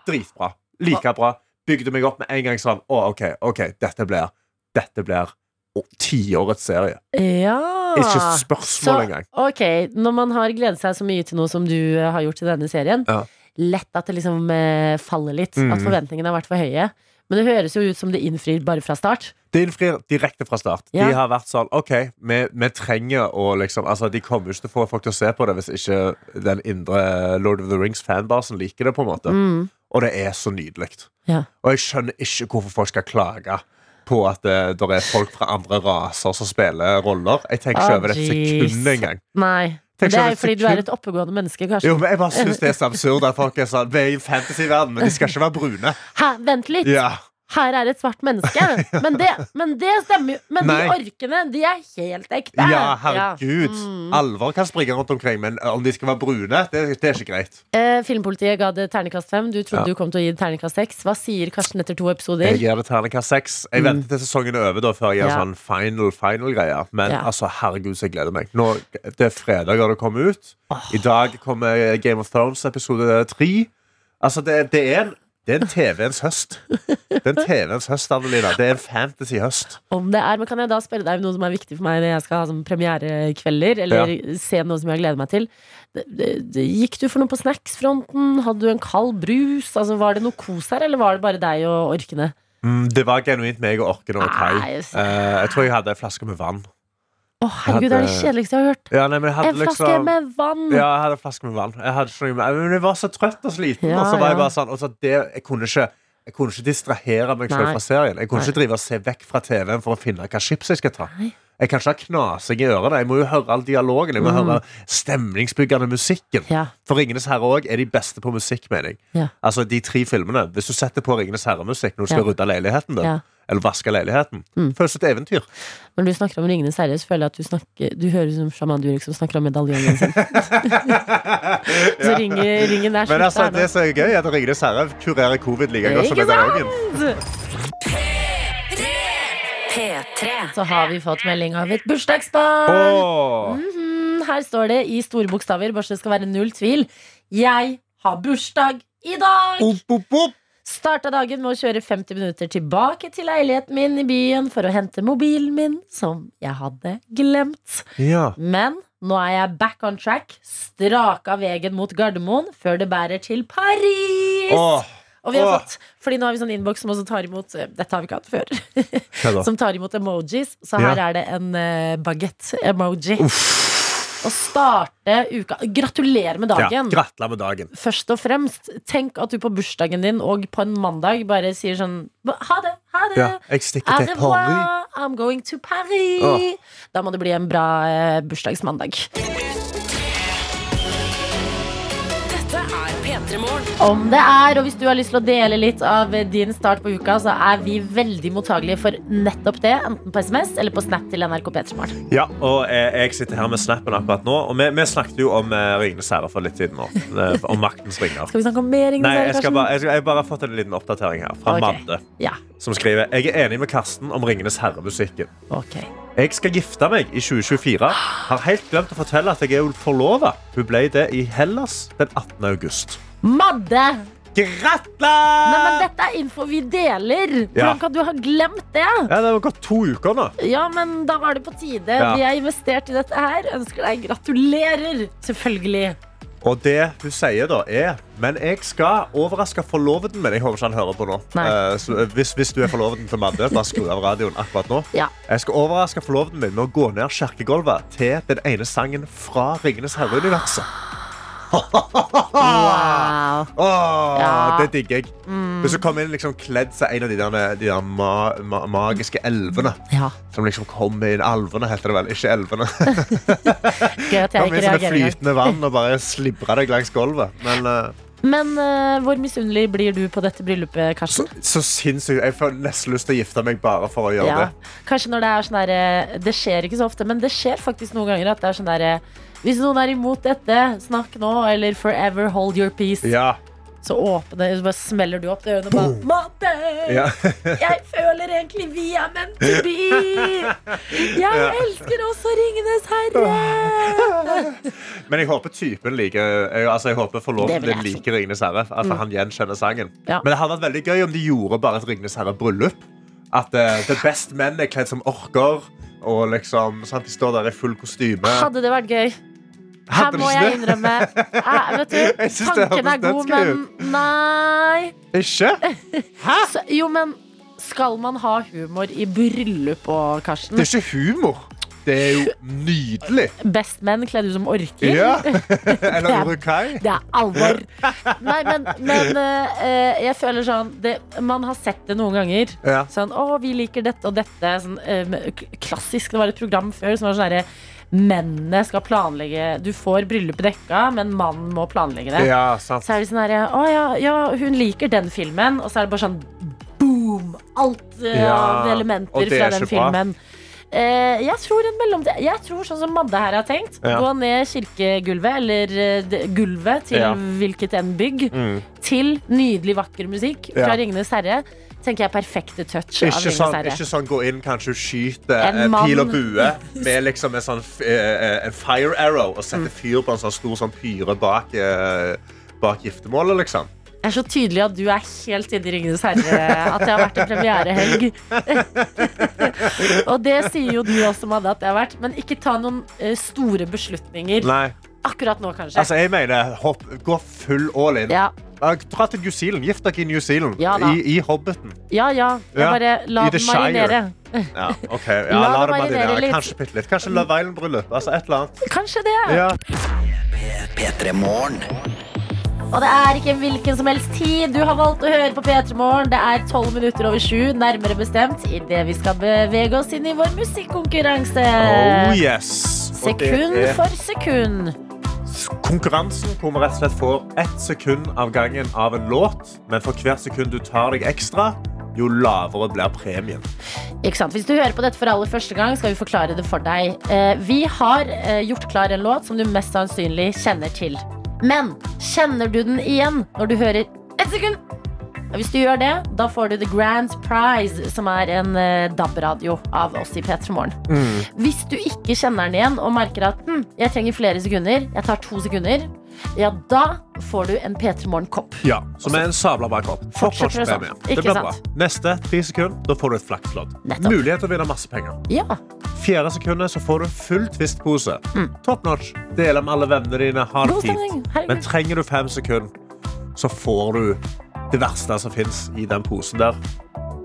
Speaker 3: Dritbra, like bra Bygde meg opp med en gang sånn Å, ok, ok, dette blir Dette blir å, tiårets serie
Speaker 2: ja.
Speaker 3: Ikke et spørsmål engang
Speaker 2: ok, når man har gledet seg så mye til noe som du eh, har gjort i denne serien,
Speaker 3: Ja.
Speaker 2: lett at det liksom eh, faller litt.
Speaker 3: Mhm.
Speaker 2: At forventningene har vært for høye. Men det høres jo ut som det innfrir bare fra start.
Speaker 3: Det innfrir direkte fra start
Speaker 2: Ja.
Speaker 3: De har vært sånn, ok, vi, vi trenger å liksom Altså, de kommer jo ikke til å få folk til å se på det Hvis ikke den indre Lord of the Rings fanbasen liker det på en måte
Speaker 2: Mm.
Speaker 3: Og det er så nydelig
Speaker 2: Ja.
Speaker 3: Og jeg skjønner ikke hvorfor folk skal klage på at det, der er folk fra andre raser som spiller roller. Jeg tenker ikke
Speaker 2: Ah,
Speaker 3: over det et
Speaker 2: jeez.
Speaker 3: sekund engang.
Speaker 2: Nei.
Speaker 3: Tenk
Speaker 2: Men det
Speaker 3: så
Speaker 2: er jo
Speaker 3: det er
Speaker 2: fordi du
Speaker 3: sekund-
Speaker 2: er et oppegående menneske, kanskje.
Speaker 3: Jo, men jeg bare synes det er så absurd at folk er sånn Vi er i en fantasyverden, men de skal ikke være brune.
Speaker 2: Hæ, vent litt!
Speaker 3: Ja.
Speaker 2: Her er et svart menneske. Men det, men det stemmer jo. Men
Speaker 3: Nei.
Speaker 2: de orkene, de er helt ekte.
Speaker 3: ja,
Speaker 2: Ja. Mm.
Speaker 3: herregud. Alvor kan springe rundt omkring, men om de skal være brune, det, det er ikke greit.
Speaker 2: Eh, filmpolitiet ga det terningkast fem. Du trodde du
Speaker 3: Ja.
Speaker 2: kom til å gi det terningkast seks. Hva sier Karsten etter to
Speaker 3: Jeg
Speaker 2: episoder?
Speaker 3: gir det terningkast seks. Jeg venter til sesongen er over da, før jeg gjør
Speaker 2: Mm. Ja.
Speaker 3: sånn final final greier. Men
Speaker 2: Ja.
Speaker 3: altså, herregud, så jeg gleder meg. Nå, det er fredag da det kommer ut. I dag kommer Game of Thrones episode tre. Altså, det, det er en det er en TV-ens høst. Det er en TV-ens høst, Adelina. Det er en fantasy-høst.
Speaker 2: Om det er, men Kan jeg da spørre deg om noe som er viktig for meg når jeg skal ha som premierekvelder? Eller se noe som jeg gleder meg til? Det- det- det- Gikk du for noe på snacksfronten? Hadde du en kald brus? Altså, var det noe kos her, eller var det bare deg og orkene?
Speaker 3: Mm, det var genuint meg og Orken og Kai.
Speaker 2: Nei,
Speaker 3: Eh, jeg tror jeg hadde en flaske med vann.
Speaker 2: Å, herregud, det er det
Speaker 3: hadde-
Speaker 2: kjedeligste jeg har hørt.
Speaker 3: Ja, nei, men jeg hadde
Speaker 2: En flaske
Speaker 3: liksom...
Speaker 2: med vann!
Speaker 3: Ja, jeg hadde en flaske med vann. Jeg, hadde ikke noe med, men jeg var så trøtt og sliten.
Speaker 2: Ja,
Speaker 3: og så var jeg
Speaker 2: ja.
Speaker 3: bare sånn og så det, jeg, kunne ikke, jeg kunne ikke distrahere meg selv
Speaker 2: Nei.
Speaker 3: fra serien. Jeg kunne
Speaker 2: Nei.
Speaker 3: ikke drive og se vekk fra TV-en for å finne hva chips jeg skal ta.
Speaker 2: Nei.
Speaker 3: Jeg kan ikke ha knasing i ørene. Jeg må jo høre all dialogen. Jeg må høre stemningsbyggende musikken.
Speaker 2: Mm. Ja.
Speaker 3: For Ringenes herre òg er de beste på musikk, mener jeg.
Speaker 2: Ja.
Speaker 3: Altså, de tre filmene. Hvis du setter på Ringenes herre-musikk når du skal
Speaker 2: Ja.
Speaker 3: rydde leiligheten din,
Speaker 2: Ja. Mm.
Speaker 3: eller vaske leiligheten, føles det et eventyr.
Speaker 2: Når du snakker om Ringenes herre, så føler jeg at du, snakker, du høres ut som sjaman Durek som snakker om medaljongen sin. så ringer, ringen er
Speaker 3: Men
Speaker 2: slutt
Speaker 3: altså,
Speaker 2: her nå.
Speaker 3: det som er gøy, er at Ringenes herre kurerer covid like godt som
Speaker 2: Ikke
Speaker 3: medaljongen.
Speaker 1: P3.
Speaker 2: Så har vi fått melding av et bursdagsbarn.
Speaker 3: Åh.
Speaker 2: Mm, her står det i store bokstaver, bare så det skal være null tvil. Jeg har bursdag i dag!
Speaker 3: Opp, opp, opp.
Speaker 2: Starta dagen med å kjøre 50 minutter tilbake til leiligheten min i byen for å hente mobilen min, som jeg hadde glemt.
Speaker 3: Ja.
Speaker 2: Men nå er jeg back on track, straka veien mot Gardermoen før det bærer til Paris!
Speaker 3: Åh,
Speaker 2: og vi har
Speaker 3: åh.
Speaker 2: fått, fordi nå har vi sånn innboks som også tar imot eh, Dette har vi ikke hatt før.
Speaker 3: hva da?
Speaker 2: som tar imot emojis. Så
Speaker 3: Ja.
Speaker 2: her er det en uh, bagett-emoji. Å starte uka Gratulerer med
Speaker 3: Ja,
Speaker 2: dagen!
Speaker 3: Gratulerer med dagen.
Speaker 2: Først og fremst, tenk at du på bursdagen din og på en mandag bare sier sånn Ha det! Ha det!
Speaker 3: Ja,
Speaker 2: Au
Speaker 3: jeg stikker til Paris.
Speaker 2: revoir! I'm going to Paris!
Speaker 3: Åh.
Speaker 2: Da må det bli en bra eh, bursdagsmandag.
Speaker 1: Dette er P3 Morgen.
Speaker 2: Om det er, og hvis du har lyst til å dele litt av din start på uka, så er vi veldig mottagelige for nettopp det. Enten på SMS eller på Snap til NRK P3morgen.
Speaker 3: Ja, og eh, jeg sitter her med snappen akkurat nå. Og vi, vi snakket jo om eh, Ringenes herre for litt siden nå. eh, Om maktens ringer.
Speaker 2: Skal vi snakke om mer? Ingen
Speaker 3: Nei, jeg, skal bare, jeg, skal, jeg har bare fått en liten oppdatering her fra
Speaker 2: Ok.
Speaker 3: Madde.
Speaker 2: Ja,
Speaker 3: Som skriver Jeg er enig med Karsten om Ringenes herre-musikken.
Speaker 2: ok.
Speaker 3: Jeg skal gifte meg i 2024. Har helt glemt å fortelle at jeg er forlova. Hun ble det i Hellas den 18. august.
Speaker 2: Madde! Nei, men
Speaker 3: Gratulerer!
Speaker 2: dette er info vi deler!
Speaker 3: Ja.
Speaker 2: Hvordan kan du ha glemt det?
Speaker 3: Ja, det har gått to uker nå.
Speaker 2: Ja, men da var det på tide.
Speaker 3: Ja.
Speaker 2: Vi har investert i dette her. Ønsker deg gratulerer! Selvfølgelig.
Speaker 3: Og det hun sier, da, er Men jeg skal overraske forloveden min. Jeg håper ikke han hører på nå.
Speaker 2: Nei.
Speaker 3: Eh, så hvis, hvis du er forloveden til Madde, bare skru av radioen akkurat nå.
Speaker 2: Ja.
Speaker 3: Jeg skal overraske forloveden min med å gå ned kirkegulvet til den ene sangen fra Ringenes herre-universet.
Speaker 2: Ah. Wow.
Speaker 3: Åh,
Speaker 2: Ja. Mm.
Speaker 3: Det digger jeg. Hvis du kommer inn liksom kledd som en av de, der, de der ma ma magiske elvene
Speaker 2: Ja.
Speaker 3: Som liksom kommer inn Alvene heter det vel, ikke elvene.
Speaker 2: Gøy at jeg ikke
Speaker 3: Kom inn som det
Speaker 2: reagerer engang.
Speaker 3: flytende vann og bare slibrer deg langs gulvet. Men eh,
Speaker 2: Men eh, hvor misunnelig blir du på dette bryllupet, Karsten?
Speaker 3: så sinnssykt. Jeg får nesten lyst til å gifte meg bare for å gjøre
Speaker 2: Ja.
Speaker 3: det.
Speaker 2: Kanskje når det er sånn der eh, Det skjer ikke så ofte, men det skjer faktisk noen ganger at det er sånn der eh, Hvis noen er imot dette, snakk nå, eller forever hold your peace.
Speaker 3: Ja.
Speaker 2: Så åpner, så bare smeller du opp dørene og bare Madde!
Speaker 3: ja.
Speaker 2: Jeg føler egentlig vi er meant to be. Jeg elsker også Ringenes
Speaker 3: Ah.
Speaker 2: herre.
Speaker 3: Men jeg håper typen liker jeg, altså jeg håper
Speaker 2: Det
Speaker 3: forloveden
Speaker 2: vil
Speaker 3: din
Speaker 2: jeg si.
Speaker 3: liker Ringenes herre. At han gjenkjenner sangen.
Speaker 2: Ja.
Speaker 3: Men det hadde vært veldig gøy om de gjorde bare et Ringenes herre-bryllup. At eh, The Best Men er kledd som orker. Og liksom, sant, De står der i full kostyme.
Speaker 2: Hadde det vært gøy? Her
Speaker 3: Hadde
Speaker 2: må
Speaker 3: det
Speaker 2: jeg
Speaker 3: ikke det?
Speaker 2: innrømme. Eh, vet du,
Speaker 3: Jeg synes det
Speaker 2: tanken er
Speaker 3: høres
Speaker 2: god,
Speaker 3: dødsgøy
Speaker 2: men nei.
Speaker 3: Ikke?
Speaker 2: Så, jo, men skal man ha humor i bryllup og Karsten?
Speaker 3: Det er ikke humor. Det er jo nydelig.
Speaker 2: Best menn kledd ut som orker?
Speaker 3: Ja. Eller Urukai.
Speaker 2: Det er alvor. Nei, men, men eh, eh, jeg føler sånn det, Man har sett det noen ganger.
Speaker 3: Ja.
Speaker 2: Sånn, å, vi liker dette og dette. Sånn, eh, k- klassisk, det var et program før som var sånn herre Mennene skal planlegge Du får bryllupet dekka, men mannen må planlegge det.
Speaker 3: Ja, sant.
Speaker 2: Så er det sånn herre Å ja, ja, hun liker den filmen. Og så er det bare sånn boom! Alt eh,
Speaker 3: Ja,
Speaker 2: av
Speaker 3: og
Speaker 2: elementer
Speaker 3: det
Speaker 2: fra
Speaker 3: er
Speaker 2: den
Speaker 3: ikke bra.
Speaker 2: filmen. Eh, jeg tror en mellom Jeg tror sånn som Madde her har tenkt.
Speaker 3: Ja.
Speaker 2: Gå ned kirkegulvet, eller eh, det- gulvet til
Speaker 3: Ja. Mm.
Speaker 2: hvilket enn bygg, til nydelig, vakker musikk fra
Speaker 3: Ja.
Speaker 2: Ringenes herre. Tenker jeg perfekte touch av
Speaker 3: Ikke
Speaker 2: Ringenes
Speaker 3: sånn,
Speaker 2: herre.
Speaker 3: ikke sånn gå inn, kanskje hun skyter
Speaker 2: En
Speaker 3: eh, pil
Speaker 2: mann.
Speaker 3: og bue med liksom en, sånn, f- eh, eh, en fire arrow og setter
Speaker 2: Mm.
Speaker 3: fyr på en sånn stor sånn pyre bak, eh, bak giftermålet, liksom.
Speaker 2: Det er så tydelig at du er helt inne i Ringenes herre. At det har vært en premierehelg. og det sier jo du også, Madde, at det har vært. Men ikke ta noen eh, store beslutninger
Speaker 3: Nei.
Speaker 2: akkurat nå, kanskje.
Speaker 3: Altså, jeg mener, hopp, gå full all in.
Speaker 2: ja,
Speaker 3: Ja, Dra til New Zealand. Gift dere i New Zealand.
Speaker 2: Ja da.
Speaker 3: I, I Hobbiten.
Speaker 2: ja. ja. Jeg
Speaker 3: Ja,
Speaker 2: bare la
Speaker 3: i The
Speaker 2: den marinere.
Speaker 3: Ja, ok. ja,
Speaker 2: La
Speaker 3: la
Speaker 2: det
Speaker 3: det marinere
Speaker 2: marinere litt.
Speaker 3: Kanskje bitte litt. Kanskje Love Island-bryllup. Altså, et eller annet.
Speaker 2: Kanskje det.
Speaker 3: Ja.
Speaker 4: P3 Morgen.
Speaker 2: Og det er ikke hvilken som helst tid du har valgt å høre på P3 Morgen. Det er tolv minutter over sju, nærmere bestemt, idet vi skal bevege oss inn i vår musikkonkurranse.
Speaker 3: Oh yes. Og det
Speaker 2: Eh, Sekund
Speaker 3: er-
Speaker 2: for sekund.
Speaker 3: Konkurransen hvor vi rett og slett får ett sekund av gangen av en låt, men for hvert sekund du tar deg ekstra, jo lavere blir premien.
Speaker 2: Ikke sant? Hvis du hører på dette for aller første gang, skal vi forklare det for deg. Eh, vi har eh, gjort klar en låt som du mest sannsynlig kjenner til. Men kjenner du den igjen når du hører ett sekund? Hvis du gjør det, da får du The Grand Prize, som er en eh, DAB-radio av oss i P3 Morgen. Hvis du ikke kjenner den igjen og merker at hm, jeg trenger flere sekunder, jeg tar to sekunder, ja, da får du en P3 Morgen-kopp.
Speaker 3: Ja, Som er en sabla bak opp.
Speaker 2: Fortsetter det sånn.
Speaker 3: Forkortspremie.
Speaker 2: Ikke
Speaker 3: Det blir bra.
Speaker 2: sant?
Speaker 3: Neste tre sekunder, da får du et flakslodd.
Speaker 2: Nettopp.
Speaker 3: Mulighet til å vinne masse penger.
Speaker 2: Ja.
Speaker 3: Fjerde sekundet så får du full Twist-pose. Top notch. Del med alle vennene dine. Ha det
Speaker 2: Mm. God stemning.
Speaker 3: fint.
Speaker 2: Herregud.
Speaker 3: Men trenger du fem sekunder, så får du det verste som fins i den posen der.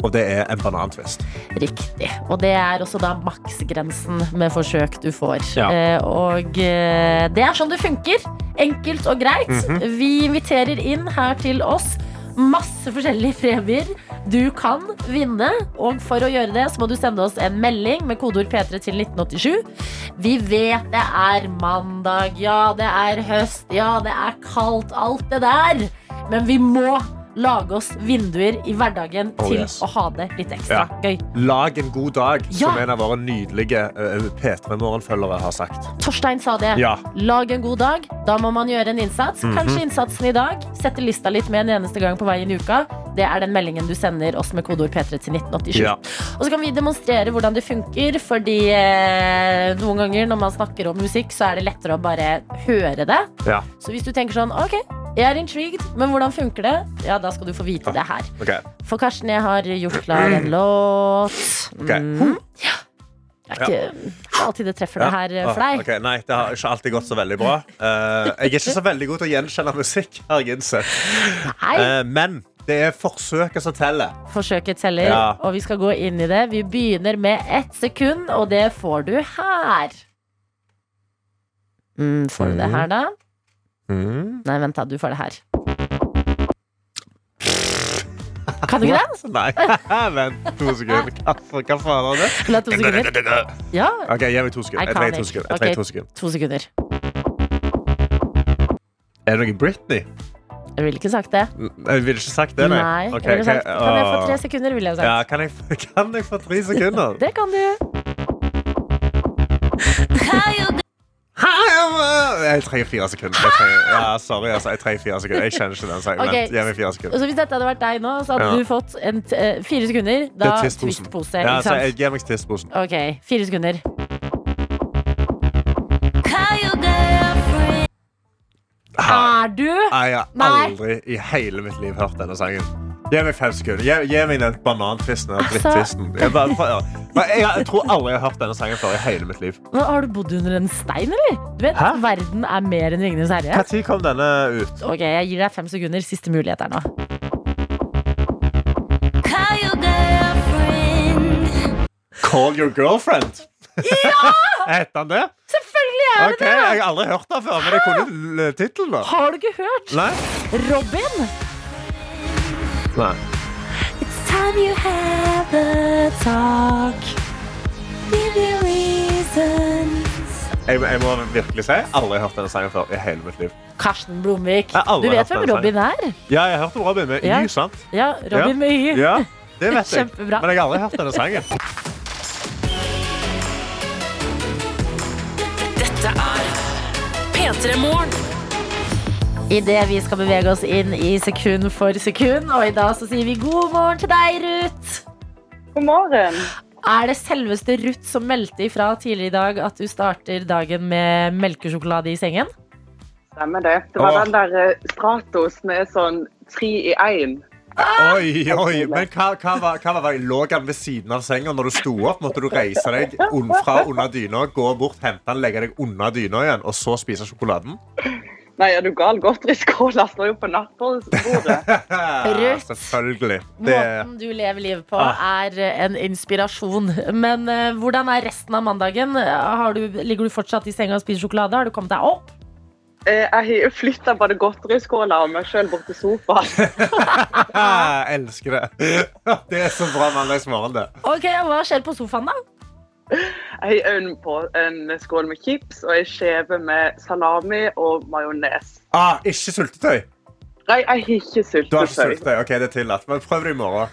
Speaker 3: Og det er en banantvist.
Speaker 2: Riktig. Og det er også da maksgrensen med forsøk du får.
Speaker 3: Ja.
Speaker 2: Eh, og eh, det er sånn det funker. Enkelt og greit.
Speaker 3: Mhm.
Speaker 2: Vi inviterer inn her til oss masse forskjellige premier du kan vinne. Og for å gjøre det, så må du sende oss en melding med kodeord P3 til 1987. Vi vet det er mandag, ja, det er høst, ja, det er kaldt, alt det der. Men vi må lage oss vinduer i hverdagen
Speaker 3: Oh,
Speaker 2: til
Speaker 3: yes.
Speaker 2: å ha det litt ekstra
Speaker 3: Ja.
Speaker 2: gøy.
Speaker 3: Lag en god dag,
Speaker 2: Ja.
Speaker 3: som en av våre nydelige eh, P3 Morgen-følgere har sagt.
Speaker 2: Torstein sa det.
Speaker 3: Ja. Mhm.
Speaker 2: Lag en god dag. Da må man gjøre en innsats. Kanskje innsatsen i dag. Sette lista litt med en eneste gang på veien i uka. Det er den meldingen du sender oss med kodeord P3 til 1987.
Speaker 3: Ja.
Speaker 2: Og så kan vi demonstrere hvordan det funker, fordi eh, noen ganger når man snakker om musikk, så er det lettere å bare høre det.
Speaker 3: Ja.
Speaker 2: Så hvis du tenker sånn OK, jeg er intrigued, men hvordan funker det? Ja, da skal du få vite det her.
Speaker 3: Ok.
Speaker 2: For Karsten, jeg har gjort klar en låt.
Speaker 3: Ok.
Speaker 2: Mm. Ja. Det er ikke det er alltid det treffer det her eh, for
Speaker 3: Ah,
Speaker 2: deg.
Speaker 3: ok. Nei, det har ikke alltid gått så veldig bra. Eh, jeg er ikke så veldig god til å gjenkjenne musikk, har jeg innsett.
Speaker 2: Nei.
Speaker 3: Eh, men det er forsøket som teller.
Speaker 2: Forsøket teller,
Speaker 3: Ja.
Speaker 2: og vi skal gå inn i det. Vi begynner med ett sekund, og det får du her. Mm, får du det her, da? Nei, vent, da. Du får det her. Kan du ikke det?
Speaker 3: Nei, vent to sekunder. Hva, for- hva faen var det?
Speaker 2: La to sekunder. Ja,
Speaker 3: Ok, Gi meg to sekunder. Jeg trenger to
Speaker 2: Iconic.
Speaker 3: sekunder. Jeg
Speaker 2: Ok.
Speaker 3: trenger to sekunder.
Speaker 2: to sekunder.
Speaker 3: Er det noe Britney?
Speaker 2: Jeg ville ikke sagt det.
Speaker 3: Jeg ville ikke sagt det, nei. Ok,
Speaker 2: jeg ville sagt,
Speaker 3: ok,
Speaker 2: kan jeg få
Speaker 3: åh.
Speaker 2: tre sekunder, ville jeg sagt.
Speaker 3: Ja, kan jeg, kan jeg få tre sekunder?
Speaker 2: Det kan du.
Speaker 3: Hei, Jeg trenger fire sekunder. Jeg trenger, ja, sorry, altså. Jeg trenger fire sekunder. Jeg kjenner ikke den sangen.
Speaker 2: Ok.
Speaker 3: Vent, gi meg fire sekunder.
Speaker 2: Og så hvis dette hadde vært deg nå, så hadde
Speaker 3: Ja.
Speaker 2: du fått en t eh, fire sekunder.
Speaker 3: Det
Speaker 2: Da
Speaker 3: er Twist-posen.
Speaker 2: twist-pose.
Speaker 3: Ja,
Speaker 2: ikke
Speaker 3: så
Speaker 2: sant?
Speaker 3: jeg gir meg Twist-posen.
Speaker 2: Ok, fire sekunder.
Speaker 3: Nei,
Speaker 2: Er du?
Speaker 3: Jeg har
Speaker 2: Nei.
Speaker 3: aldri i hele mitt liv hørt denne sangen. Gi meg fem sekunder. Gi, gi meg den banantvisten. Den
Speaker 2: Altså.
Speaker 3: dritttvisten. Jeg, bare- for- jeg, jeg tror aldri jeg har hørt denne sangen før i hele mitt liv.
Speaker 2: Hva, Har du bodd under en stein, eller? Du vet,
Speaker 3: Hæ?
Speaker 2: Verden er mer enn Ringenes herre.
Speaker 3: Når kom denne ut?
Speaker 2: Ok, Jeg gir deg fem sekunder. Siste mulighet her nå.
Speaker 3: Call Your Girlfriend. Ja! Heter han det?
Speaker 2: Selvfølgelig er
Speaker 3: Ok,
Speaker 2: det det!
Speaker 3: Jeg har aldri hørt den før, men jeg kunne l- tittelen. da.
Speaker 2: Har du ikke hørt?
Speaker 3: Nei.
Speaker 2: Robin!
Speaker 3: Nei.
Speaker 2: It's time you have a talk. Give your reasons.
Speaker 3: Jeg, jeg må virkelig si jeg har aldri hørt denne sangen før i hele mitt liv.
Speaker 2: Karsten Blomvik.
Speaker 3: Jeg har aldri
Speaker 2: Du vet
Speaker 3: hatt
Speaker 2: hvem
Speaker 3: den
Speaker 2: Robin er?
Speaker 3: Ja, jeg har hørt om Robin med
Speaker 2: Ja.
Speaker 3: Y, sant?
Speaker 2: Ja, Robin
Speaker 3: Ja.
Speaker 2: med Y.
Speaker 3: Ja, det vet jeg.
Speaker 2: Kjempebra.
Speaker 3: Men jeg har aldri hørt denne sangen.
Speaker 5: Dette er P3 Morgen.
Speaker 2: Idet vi skal bevege oss inn i sekund for sekund, og i dag så sier vi god morgen til deg, Ruth.
Speaker 6: God morgen.
Speaker 2: Er det selveste Ruth som meldte ifra tidligere i dag at du starter dagen med melkesjokolade i sengen?
Speaker 6: Stemmer det. Det var
Speaker 3: Åh.
Speaker 6: den der eh, Stratos med sånn tre i én.
Speaker 2: Ah,
Speaker 3: Oi, oi, men hva, hva var, hva var veien? Lå han ved siden av senga når du sto opp? Måtte du reise deg un- fra under dyna, gå bort, hente han, legge deg under dyna igjen, og så spise sjokoladen?
Speaker 6: Nei, er du gal? Godteriskåla står jo på nattbordet.
Speaker 2: Ruth.
Speaker 3: Selvfølgelig. Det
Speaker 2: Måten du lever livet på
Speaker 3: Ah.
Speaker 2: er eh, en inspirasjon. Men eh, hvordan er resten av mandagen? Har du, ligger du fortsatt i senga og spiser sjokolade? Har du kommet deg opp?
Speaker 6: Eh, Jeg har flytta både godteriskåla og meg sjøl bort til sofaen.
Speaker 2: Ah.
Speaker 3: Jeg elsker det. Det er så bra mandagsmorgen, det.
Speaker 2: Ok, Hva skjer på sofaen, da?
Speaker 6: Jeg har øynene på en skål med chips og ei skjeve med salami og majones.
Speaker 3: Ah, ikke sultetøy.
Speaker 6: Nei, jeg har ikke
Speaker 3: Du har ikke
Speaker 6: syltetøy.
Speaker 3: sultet? Ok, det er tillatt. Men prøv det i morgen.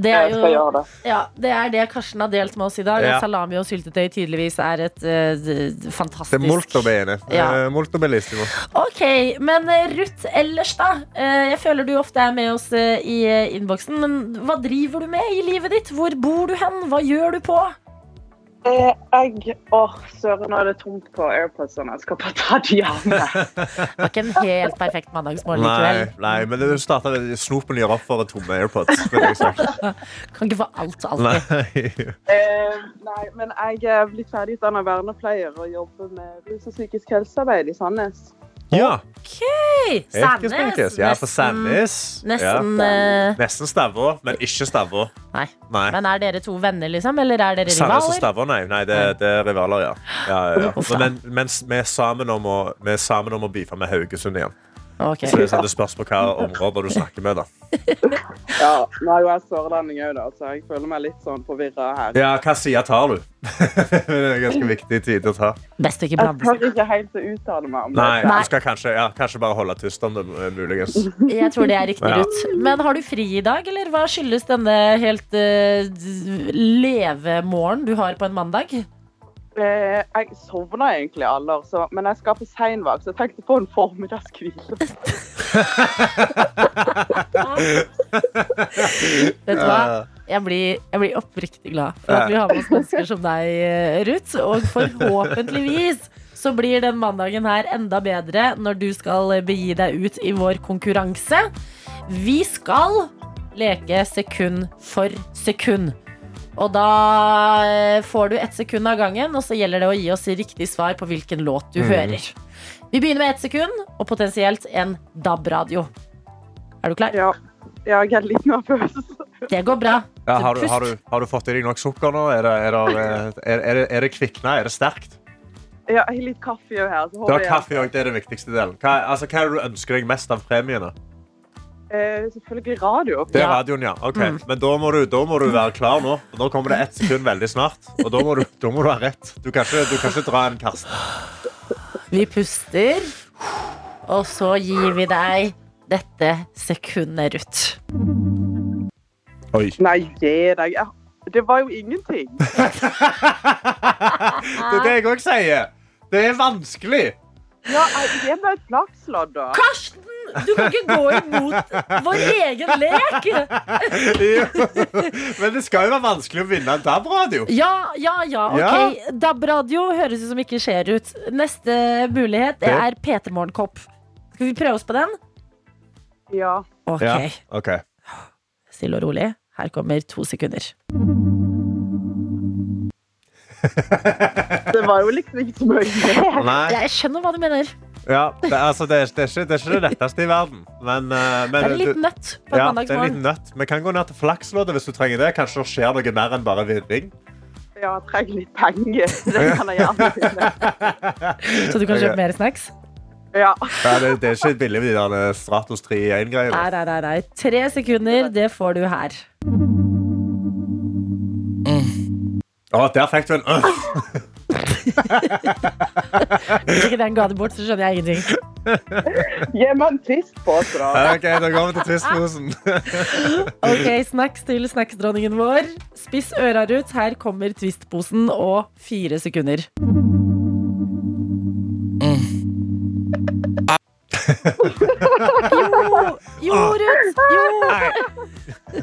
Speaker 2: Det er
Speaker 6: Jeg
Speaker 2: jo
Speaker 6: skal gjøre det.
Speaker 2: ja, det, er det Karsten har delt med oss i dag.
Speaker 3: Ja.
Speaker 2: At salami og syltetøy tydeligvis er et eh, d- d-
Speaker 3: Det er
Speaker 2: fantastisk
Speaker 3: moltobene.
Speaker 2: Ja.
Speaker 3: Eh, Moltobellissimo.
Speaker 2: Ok, men eh, Ruth ellers, da. Eh, Jeg føler du ofte er med oss eh, i eh, innboksen. Men hva driver du med i livet ditt? Hvor bor du hen? Hva gjør du på?
Speaker 6: Eh, Jeg Åh, søren, nå er det tomt på AirPodsene. Jeg skal bare ta de av meg.
Speaker 2: Det var ikke en helt perfekt mandagsmorgen
Speaker 3: Nei,
Speaker 2: likevel.
Speaker 3: nei, men det starta snopen gjør opp for tomme AirPods. vil jeg si. sånn.
Speaker 2: Kan ikke få alt og alltid.
Speaker 3: Nei.
Speaker 6: Eh, Nei, men jeg er blitt ferdigutdanna vernepleier og jobber med rus og psykisk helsearbeid i Sandnes.
Speaker 3: Ja.
Speaker 2: Hei,
Speaker 3: Yrkesbakes. Ja, for Sandnes. Ja.
Speaker 2: Nesten eh,
Speaker 3: Nesten Stavå, men ikke Stavå.
Speaker 2: Nei.
Speaker 3: Nei.
Speaker 2: Men er dere to venner, liksom? Eller er dere
Speaker 3: Sandnes og
Speaker 2: rivaler?
Speaker 3: Stavå, nei. nei det, det er rivaler, ja. ja, ja,
Speaker 2: Uff,
Speaker 3: ja.
Speaker 2: da.
Speaker 3: Men, men vi er sammen om å, vi er sammen om å beefe med Haugesund igjen.
Speaker 2: Ok.
Speaker 3: Så det, er sånn, det spørs på hvilke områder du snakker med. da
Speaker 6: Ja, nå er jo jeg sørlending òg, da, så jeg føler meg litt sånn forvirra her.
Speaker 3: Ja, Hva side tar du? det er en ganske viktig tid å ta.
Speaker 2: Best å ikke
Speaker 6: Jeg
Speaker 2: blande seg.
Speaker 6: tør ikke helt å uttale meg om det.
Speaker 3: Nei,
Speaker 2: Nei.
Speaker 3: Du skal kanskje, ja, kanskje bare holde tyst om det, eh, muligens.
Speaker 2: Jeg tror det er riktig,
Speaker 3: Ja.
Speaker 2: Ruth. Men har du fri i dag, eller hva skyldes denne helt uh, levemorgen du har på en mandag?
Speaker 6: Eh, Jeg sovna egentlig alle år, så- men jeg skal på seinvakt, så jeg tenkte på en formiddagskvile.
Speaker 2: Vet du
Speaker 3: Eh,
Speaker 2: hva? Jeg blir, jeg blir oppriktig glad for at vi har med oss mennesker som deg, eh, Ruth. Og forhåpentligvis så blir den mandagen her enda bedre når du skal begi deg ut i vår konkurranse. Vi skal leke sekund for sekund. Og da eh, får du ett sekund av gangen, og så gjelder det å gi oss riktig svar på hvilken låt du hører. Vi begynner med ett sekund og potensielt en DAB-radio. Er du klar?
Speaker 6: Ja, ja, jeg er litt nervøs.
Speaker 2: Det går bra.
Speaker 3: Ja, har, du,
Speaker 2: Pust.
Speaker 3: har, du, har du fått i deg nok sukker nå? Er det, er det, er, er det, er det kvikna? Er det sterkt?
Speaker 6: Ja, jeg har litt kaffe jo her. Så
Speaker 3: Du
Speaker 6: håper
Speaker 3: har
Speaker 6: jeg
Speaker 3: kaffe òg, det er det viktigste delen. Hva, altså, hva er det du ønsker deg mest av premiene?
Speaker 6: eh, Selvfølgelig radio.
Speaker 3: Det er
Speaker 2: Ja. Mm.
Speaker 3: radioen, ja. Ok, Men da må, du, da må du være klar nå. Nå kommer det ett sekund veldig snart. Og da må du, da må du ha rett. Du kan ikke, du kan ikke dra en kast.
Speaker 2: Vi puster, og så gir vi deg dette sekundet, Ruth.
Speaker 3: Oi.
Speaker 6: Nei, gi deg. Ja, Det var jo ingenting.
Speaker 3: Det er det jeg òg sier. Det er vanskelig.
Speaker 6: Ja, jeg- Gi meg et flakslodd, da.
Speaker 2: Karsten! Du kan ikke gå imot vår egen lek!
Speaker 3: Men det skal jo være vanskelig å vinne en DAB-radio.
Speaker 2: Ja, ja, ja. Ok, DAB-radio høres ut som ikke skjer ut. Neste mulighet det er P3 Morgenkopp. Skal vi prøve oss på den?
Speaker 6: Ja.
Speaker 2: Ok,
Speaker 3: Ja. Ok.
Speaker 2: Stille og rolig. Her kommer to sekunder.
Speaker 6: Det var jo liksom ikke så mye.
Speaker 3: Nei.
Speaker 2: Jeg skjønner hva du mener.
Speaker 3: Ja, det, altså, det, er, det, er ikke, det er ikke det letteste i verden. Men, eh,
Speaker 2: Det
Speaker 3: men
Speaker 2: er en
Speaker 3: du-
Speaker 2: liten nøtt på en
Speaker 3: Ja, det er en
Speaker 2: mandagsmorgen.
Speaker 3: liten nøtt. Vi kan gå ned til flaksloddet hvis du trenger det. Kanskje det skjer noe mer enn bare virring.
Speaker 6: Ja, jeg trenger litt penger. Det kan jeg gjerne finne.
Speaker 2: Så du kan
Speaker 3: Ok.
Speaker 2: kjøpe mer snacks?
Speaker 6: Ja.
Speaker 3: Ja, det, det er ikke billig med de der eh, Stratos 3 i 1-greiene.
Speaker 2: Nei, nei, nei, nei. Tre sekunder, det får du her.
Speaker 3: Å, der fikk du en øh.
Speaker 2: Hvis ikke den ga det bort, så skjønner jeg ingenting.
Speaker 6: Gi meg en twist på oss, da.
Speaker 3: Ok, da går vi til twistposen.
Speaker 2: Ah. Ok, Snacks til snacksdronningen vår. Spiss øra ut. Her kommer Twist-posen og fire sekunder.
Speaker 3: Mm.
Speaker 2: Jo, jo, Ruth! Jo!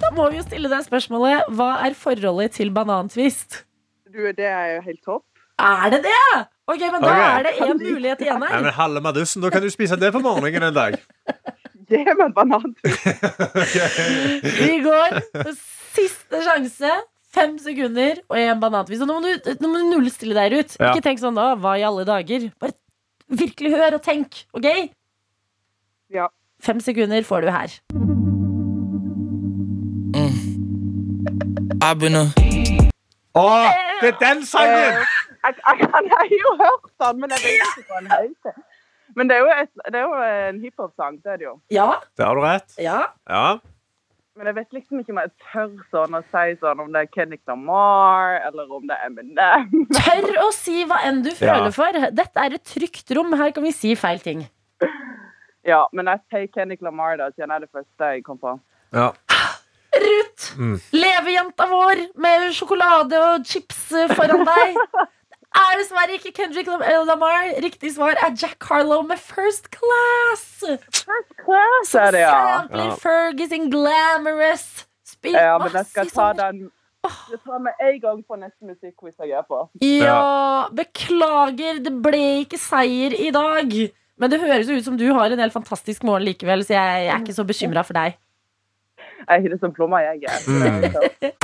Speaker 2: Da må vi jo stille deg spørsmålet Hva er forholdet til banantvist?
Speaker 6: Du, det er jo helt topp.
Speaker 2: Er det det? Ok, men da
Speaker 3: Ok.
Speaker 2: er det én mulighet igjen
Speaker 3: Nei,
Speaker 2: her.
Speaker 3: men Halve madussen, da kan du spise det på morgenen en dag.
Speaker 6: Gi meg en banan.
Speaker 2: Vi går på siste sjanse. Fem sekunder og en banantvist. Og Nå må du, nå må du nullstille deg ut.
Speaker 3: Ja.
Speaker 2: Ikke tenk sånn da, hva i alle dager? Bare virkelig hør og tenk, OK?
Speaker 6: Ja.
Speaker 2: Fem sekunder får du her.
Speaker 7: I've been a
Speaker 3: Å,
Speaker 2: Eh.
Speaker 3: det er den sangen!
Speaker 6: Jeg, jeg, kan- jeg har jo hørt den, men jeg vet ikke hva den heter. Men det er jo, et, det er jo en hiphop-sang, det er det jo.
Speaker 2: Ja,
Speaker 3: Det har du rett.
Speaker 2: ja.
Speaker 3: Ja.
Speaker 6: Men jeg vet liksom ikke om jeg tør sånn å si sånn om det er Kendrick Lamar eller om det er Eminem.
Speaker 2: Tør å si hva enn du
Speaker 3: Ja.
Speaker 2: føler for. Dette er et trygt rom. Her kan vi si feil ting.
Speaker 6: Ja, men jeg sier Kendrick Lamar, da, siden jeg er det første jeg kom på.
Speaker 8: Ja.
Speaker 2: Ruth, levejenta vår med sjokolade og chips eh, foran deg. Det Er dessverre ikke Kendrick Lam- eh, Lamar. Riktig svar er Jack Harlow med First Class.
Speaker 6: Så er det, ja.
Speaker 2: Sampler Fergie sin Glamorous. Spilt
Speaker 6: ja men jeg
Speaker 2: masse
Speaker 6: skal
Speaker 2: i
Speaker 6: ta
Speaker 2: sommer.
Speaker 6: den Jeg tar med en gang på neste musikkquiz jeg er på.
Speaker 2: Ja, beklager, det ble ikke seier i dag. Men det høres jo ut som du har en helt fantastisk morgen likevel, så jeg er ikke så bekymra for deg.
Speaker 6: Jeg hyller som plommer, jeg er.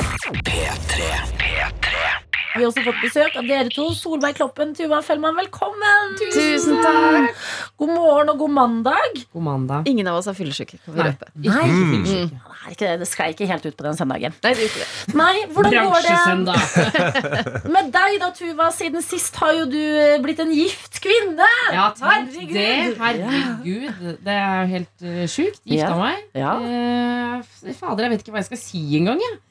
Speaker 2: Vi har også fått besøk av dere to. Solveig Kloppen, Tuva Fellmann, velkommen!
Speaker 9: Tusen takk!
Speaker 2: God morgen og god mandag.
Speaker 9: God mandag.
Speaker 10: Ingen av oss er fyllesyke, kan vi
Speaker 9: Nei.
Speaker 10: røpe.
Speaker 2: Nei,
Speaker 3: Mm.
Speaker 2: det er ikke det. Det sklei ikke helt ut på den søndagen.
Speaker 10: Nei, det er ikke det.
Speaker 2: Nei, hvordan går det
Speaker 9: Bransjesøndag.
Speaker 2: med deg da, Tuva? Siden sist har jo du eh, blitt en gift kvinne.
Speaker 9: Ja, takk.
Speaker 2: Herregud.
Speaker 9: Det, herregud. Det er jo helt uh, sjukt. Gifta
Speaker 2: Ja.
Speaker 9: meg.
Speaker 2: Ja.
Speaker 9: Eh, f- fader, jeg vet ikke hva jeg skal si engang. jeg.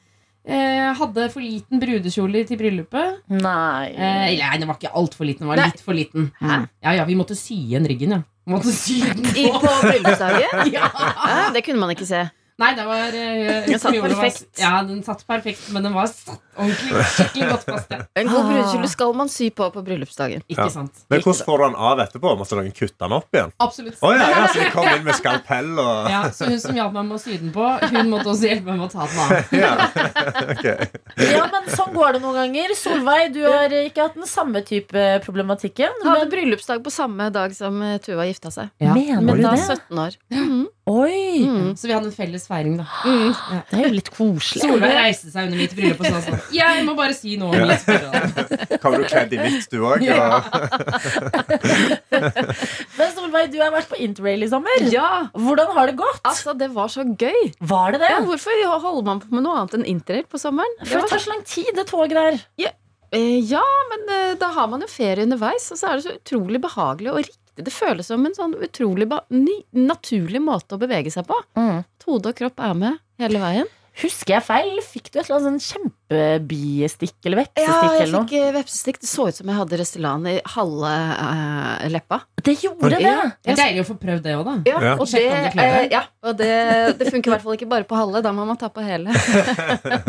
Speaker 9: Eh, hadde for liten brudekjole til bryllupet. Eh,
Speaker 2: Nei.
Speaker 9: eller, nei, den var ikke altfor liten. Den var
Speaker 10: Nei.
Speaker 9: litt for liten.
Speaker 10: Hæ?
Speaker 9: Ja, ja, vi måtte sy igjen ryggen, ja. Vi Måtte sy den
Speaker 10: I,
Speaker 9: på.
Speaker 10: på bryllupsdagen?
Speaker 9: Ja.
Speaker 10: Ja, det kunne man ikke se.
Speaker 9: Nei, det var eh,
Speaker 10: Den satt
Speaker 9: kjolen var-
Speaker 10: perfekt.
Speaker 9: Ja, den satt perfekt, men den var satt ordentlig skikkelig godt fast. Ja. Ah.
Speaker 10: En god brudekjole skal man sy på på bryllupsdagen.
Speaker 9: Ikke sant?
Speaker 8: Men hvordan får du den av etterpå? Måtte noen kutte den opp igjen?
Speaker 9: Absolutt.
Speaker 8: Å ja, ja, så de kom inn med skalpell og
Speaker 9: Ja, så hun som hjalp meg med å sy den på, hun måtte også hjelpe meg med å ta den av.
Speaker 8: ja. ok.
Speaker 2: Ja, men sånn går det noen ganger. Solveig, du har eh, ikke hatt den samme type problematikken.
Speaker 10: Hadde bryllupsdag på samme dag som eh, Tuva gifta seg.
Speaker 9: Ja.
Speaker 2: Mener
Speaker 10: Men
Speaker 2: du
Speaker 10: da
Speaker 2: det?
Speaker 10: 17 år. Mhm.
Speaker 2: Oi!
Speaker 10: Mm.
Speaker 9: Så vi hadde en felles feiring, da.
Speaker 2: Det er jo litt koselig.
Speaker 9: Solveig reiste seg under mitt bryllup og sa sånn Jeg må bare si noe om mitt bryllup.
Speaker 8: Kommer du kledd i hvitt, du òg? Og...
Speaker 2: Men Solveig, du har vært på interrail i sommer.
Speaker 10: Ja!
Speaker 2: Hvordan har det gått?
Speaker 10: Altså, det var så gøy!
Speaker 2: Var det det?
Speaker 10: Ja, hvorfor holder man på med noe annet enn interrail på sommeren?
Speaker 2: For det tar så lang tid, det toget der.
Speaker 10: Eh, ja, men eh, da har man jo ferie underveis, og så er det så utrolig behagelig og riktig. Det føles som en sånn utrolig ba- ny, naturlig måte å bevege seg på. At Hode og kropp er med hele veien.
Speaker 2: Mm. Husker jeg feil? Fikk du et eller annet sånn kjempebiestikk eller
Speaker 10: Ja,
Speaker 2: veksestikk
Speaker 10: jeg
Speaker 2: eller noe?
Speaker 10: fikk eh, vepsestikk. Det så ut som jeg hadde Restylane i halve eh, leppa.
Speaker 2: Det gjorde det!
Speaker 10: Ja.
Speaker 9: Det er deilig å få prøvd det òg, da.
Speaker 10: Ja,
Speaker 8: Ja.
Speaker 10: Og, det,
Speaker 9: Sjekk om det klør.
Speaker 10: eh, ja, og det, det funker i hvert fall ikke bare på halve. Da må man ta på hele.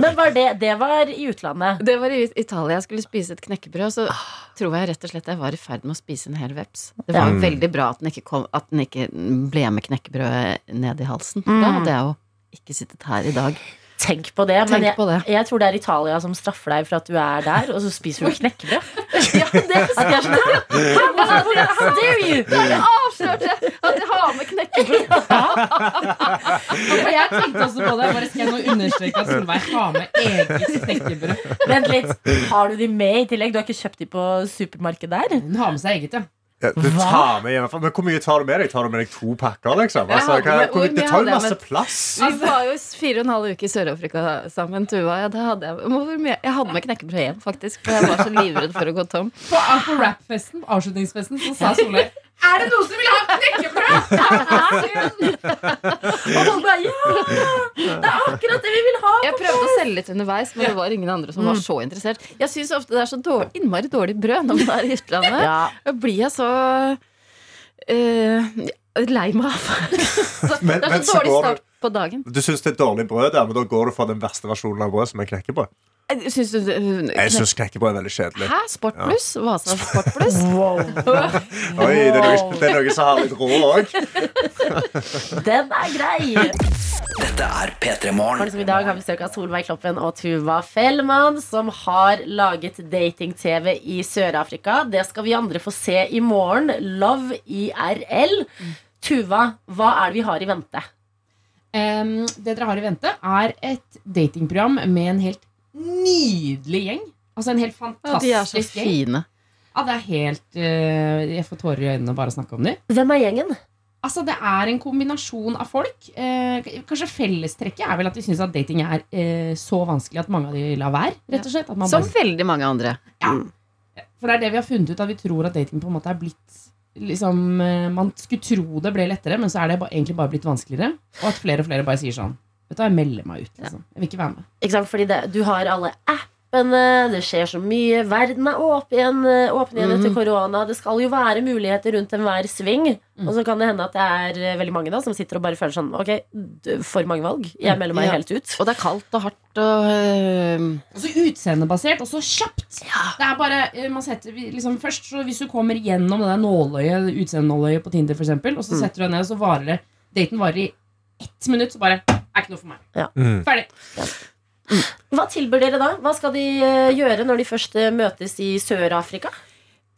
Speaker 2: Men var det, det var i utlandet.
Speaker 10: Det var i Italia. Jeg skulle spise et knekkebrød, og så tror jeg rett og slett jeg var i ferd med å spise en hel veps. Det var
Speaker 8: Ja.
Speaker 10: veldig bra at den ikke, kom, at den ikke ble med knekkebrødet ned i halsen. Da hadde jeg jo ikke sittet her i dag.
Speaker 2: Tenk på det. Men
Speaker 10: Tenk
Speaker 2: jeg,
Speaker 10: på det.
Speaker 2: jeg tror det er Italia som straffer deg for at du er der, og så spiser du knekkebrød. ja, det at jeg sånn, skjønner. Hæ? Hvorfor- altså, How dare you?
Speaker 10: Avslørte jeg at jeg har med knekkebrød!
Speaker 9: Og jeg tenkte også på det. Bare skal jeg nå understreke at Solveig har med eget knekkebrød.
Speaker 2: Vent litt. Har du de med i tillegg? Du har ikke kjøpt de på supermarkedet der?
Speaker 9: Hun har med seg eget, ja.
Speaker 8: Ja, du tar med hjemmefra. Men hvor mye tar du med deg? Tar du med deg to pakker, liksom? Altså,
Speaker 10: Ja,
Speaker 8: hva,
Speaker 10: men
Speaker 8: hvor,
Speaker 10: hvor mye
Speaker 8: det tar
Speaker 10: hadde
Speaker 8: jo
Speaker 10: jeg
Speaker 8: masse
Speaker 10: med?
Speaker 8: plass.
Speaker 10: Vi var jo fire og en halv uke i Sør-Afrika sammen, Tuva. Ja, da hadde jeg, Men hvor mye, jeg hadde med knekkebrød hjem, faktisk. For jeg var så livredd for å gå tom.
Speaker 9: På, ah, på rap-festen, avslutningsfesten, så sa Solveig Er det noen som vil ha knekkebrød?
Speaker 2: Og folk bare ja! Det er akkurat det vi vil ha!
Speaker 10: Jeg prøvde å selge litt underveis, men det var ingen andre som var så interessert. Jeg syns ofte det er så dårlig, innmari dårlig brød når man er i Islandet.
Speaker 2: Ja.
Speaker 10: Da blir jeg så eh, lei meg av. Så
Speaker 8: Men-
Speaker 10: det er
Speaker 8: men
Speaker 10: så
Speaker 8: så
Speaker 10: dårlig
Speaker 8: går du-
Speaker 10: start på dagen.
Speaker 8: Du syns det er dårlig brød der, men da går du for den verste versjonen av brød som er knekkebrød.
Speaker 10: Syns du
Speaker 8: Jeg syns knekkebrød er veldig kjedelig.
Speaker 10: Hæ? Sport pluss? Vasa Sport pluss?
Speaker 8: Oi, det er noe, det er noe som har litt rå òg.
Speaker 2: Den er grei!
Speaker 4: Dette er P3
Speaker 2: Morgen
Speaker 4: Morgen.
Speaker 2: som i dag har besøk av Solveig Kloppen og Tuva Fellmann, som har laget dating-TV i Sør-Afrika. Det skal vi andre få se i morgen. Love IRL. Tuva, hva er det vi har i vente?
Speaker 9: Em, det dere har i vente, er et datingprogram med en helt nydelig gjeng. Altså en helt
Speaker 10: Ja, de er så
Speaker 9: fantastisk gjeng.
Speaker 10: fine.
Speaker 9: Ja, det er helt eh, Jeg får tårer i øynene bare av å snakke om dem.
Speaker 2: Hvem er gjengen?
Speaker 9: Altså, Det er en kombinasjon av folk. Eh, kanskje fellestrekket er vel at de syns at dating er eh, så vanskelig at mange av de lar være. rett og slett. At man
Speaker 10: Som
Speaker 9: bare,
Speaker 10: veldig mange andre.
Speaker 9: for det er det vi har funnet ut, at vi tror at dating på en måte er blitt liksom, eh, Man skulle tro det ble lettere, men så er det ba, egentlig bare blitt vanskeligere. Og at flere og flere bare sier sånn Vet du hva, jeg melder meg ut. liksom. Jeg vil ikke være med.
Speaker 2: Ikke sant? Fordi det, du har alle apper, åpne, det skjer så mye. Verden er åpen, åpen igjen etter korona. Det skal jo være muligheter rundt enhver sving. Og så kan det hende at det er eh, veldig mange da som sitter og bare føler sånn Ok, d- for mange valg. Jeg melder meg
Speaker 10: Ja.
Speaker 2: helt ut.
Speaker 10: Og det er kaldt og hardt og øh,
Speaker 9: Og så utseendebasert, og så kjapt. Det er bare, eh, man setter, vi- liksom, først så Hvis du kommer gjennom det der nåløyet, utseendenåløyet på Tinder, for eksempel, og så setter du deg ned, og så varer det Daten varer i ett minutt, så bare Er ikke noe for meg.
Speaker 2: Ja.
Speaker 8: Mm.
Speaker 9: Ferdig.
Speaker 2: Hva tilbyr dere da? Hva skal de eh, gjøre når de først eh, møtes i Sør-Afrika?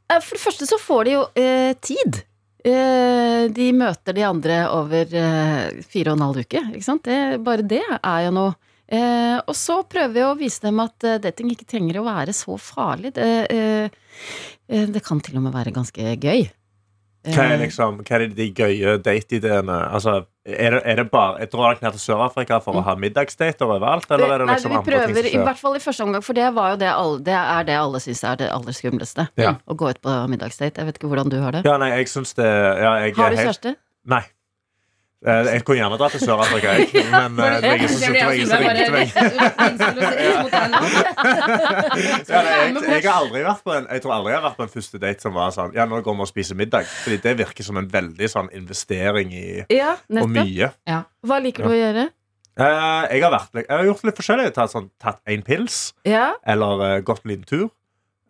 Speaker 10: Eh, For det første så får de jo eh, tid. Eh, de møter de andre over eh, fire og en halv uke. Ikke sant? Det, bare det er jo noe. Eh, og så prøver vi å vise dem at eh, dating ikke trenger å være så farlig. Det, eh, eh, det kan til og med være ganske gøy. Eh,
Speaker 8: Hva er, liksom, hva er de gøye dateideene? Altså, er det, er det bare, jeg drar dere ned til Sør-Afrika for å ha middagsdater overalt? Eller er det
Speaker 10: Nei,
Speaker 8: liksom
Speaker 10: vi
Speaker 8: andre
Speaker 10: prøver,
Speaker 8: ting
Speaker 10: i
Speaker 8: som skjer?
Speaker 10: hvert fall i første omgang, for det, var jo det, alle, det er det alle syns er det aller skumleste.
Speaker 8: Ja.
Speaker 10: Å gå ut på middagsdate. Jeg vet ikke hvordan du har det.
Speaker 8: Ja, nei, jeg syns det ja, jeg
Speaker 10: Har
Speaker 8: er
Speaker 10: du
Speaker 8: helt-
Speaker 10: kjæreste?
Speaker 8: Nei. Eh, Jeg kunne gjerne dratt til Sør-Afrika, jeg. Men eh, det var ingen som
Speaker 9: Det er det
Speaker 8: syntes det var ingen som
Speaker 9: jeg sier,
Speaker 8: ringte meg.
Speaker 9: bare-
Speaker 8: Ja, nei,
Speaker 9: være med
Speaker 8: jeg, jeg, har aldri vært på en, jeg tror aldri jeg har vært på en første date som var sånn Ja, nå går vi og spiser middag. Fordi det virker som en veldig sånn investering i
Speaker 10: Ja,
Speaker 8: og
Speaker 10: nettopp.
Speaker 8: mye.
Speaker 10: Hva liker du å gjøre?
Speaker 8: Eh, jeg, har vært, jeg har gjort litt forskjellig. Jeg har Tatt, sånn, tatt en pils.
Speaker 10: Ja,
Speaker 8: Eller eh, gått en liten tur.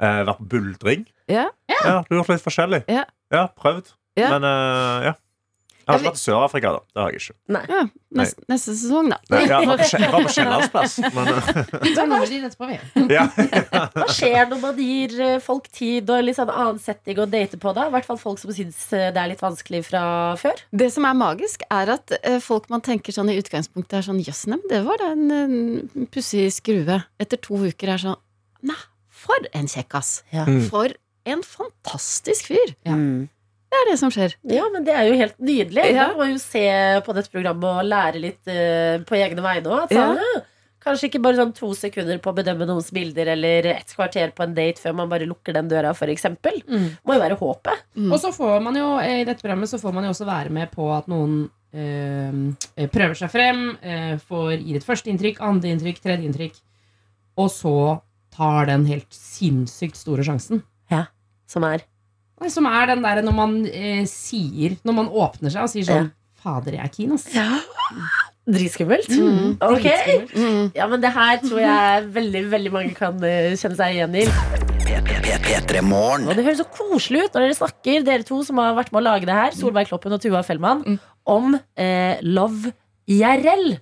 Speaker 8: Eh, vært på buldring.
Speaker 10: Ja.
Speaker 8: du har gjort litt forskjellig.
Speaker 10: Ja. prøvd.
Speaker 8: prøvd.
Speaker 10: Ja.
Speaker 8: Men eh, ja. Jeg har ikke vært i Sør-Afrika, da. Det har jeg ikke.
Speaker 10: ja. Neste, neste sesong, da.
Speaker 8: Nei, jeg har vært på Skje- jeg var på Kiellandsplass. Men eh,
Speaker 9: Vi tar nummeret ditt etterpå, vi.
Speaker 8: ja.
Speaker 2: Hva skjer når man gir eh, folk tid og litt sånn annen setting å date på da? I hvert fall folk som syns eh, det er litt vanskelig fra før.
Speaker 10: Det som er magisk, er at eh, folk man tenker sånn i utgangspunktet er sånn Jøss, nei, men det var da en, en pussig skrue. Etter to uker er sånn Nei, for en kjekkas!
Speaker 2: Ja.
Speaker 8: Mm.
Speaker 10: For en fantastisk fyr!
Speaker 9: Ja.
Speaker 10: Det er det som skjer.
Speaker 2: Ja, men det er jo helt nydelig.
Speaker 10: Ja.
Speaker 2: Da må man jo se på dette programmet og lære litt eh, på egne vegne òg.
Speaker 10: Ja.
Speaker 2: Kanskje ikke bare sånn to sekunder på å bedømme noens bilder eller et kvarter på en date før man bare lukker den døra, f.eks.
Speaker 9: Mm.
Speaker 2: Må jo være håpet.
Speaker 9: Og så får man jo eh, i dette programmet så får man jo også være med på at noen eh, prøver seg frem, eh, får gir et første inntrykk, andre inntrykk, tredje inntrykk, og så tar den helt sinnssykt store sjansen.
Speaker 2: Som er
Speaker 9: Nei, Som er den derre når man eh, sier Når man åpner seg og sier sånn Fader, jeg er keen, ass.
Speaker 2: dritskummelt.
Speaker 9: Mm.
Speaker 2: Ok.
Speaker 9: Dritskummelt.
Speaker 10: Mm.
Speaker 2: Ja, men det her tror jeg veldig veldig mange kan eh, kjenne seg igjen i.
Speaker 4: P3 Morgen.
Speaker 2: Og det høres så koselig ut når dere snakker, dere to som har vært med å lage det her, Solveig Kloppen og Tuva Fellmann, om eh, love IRL.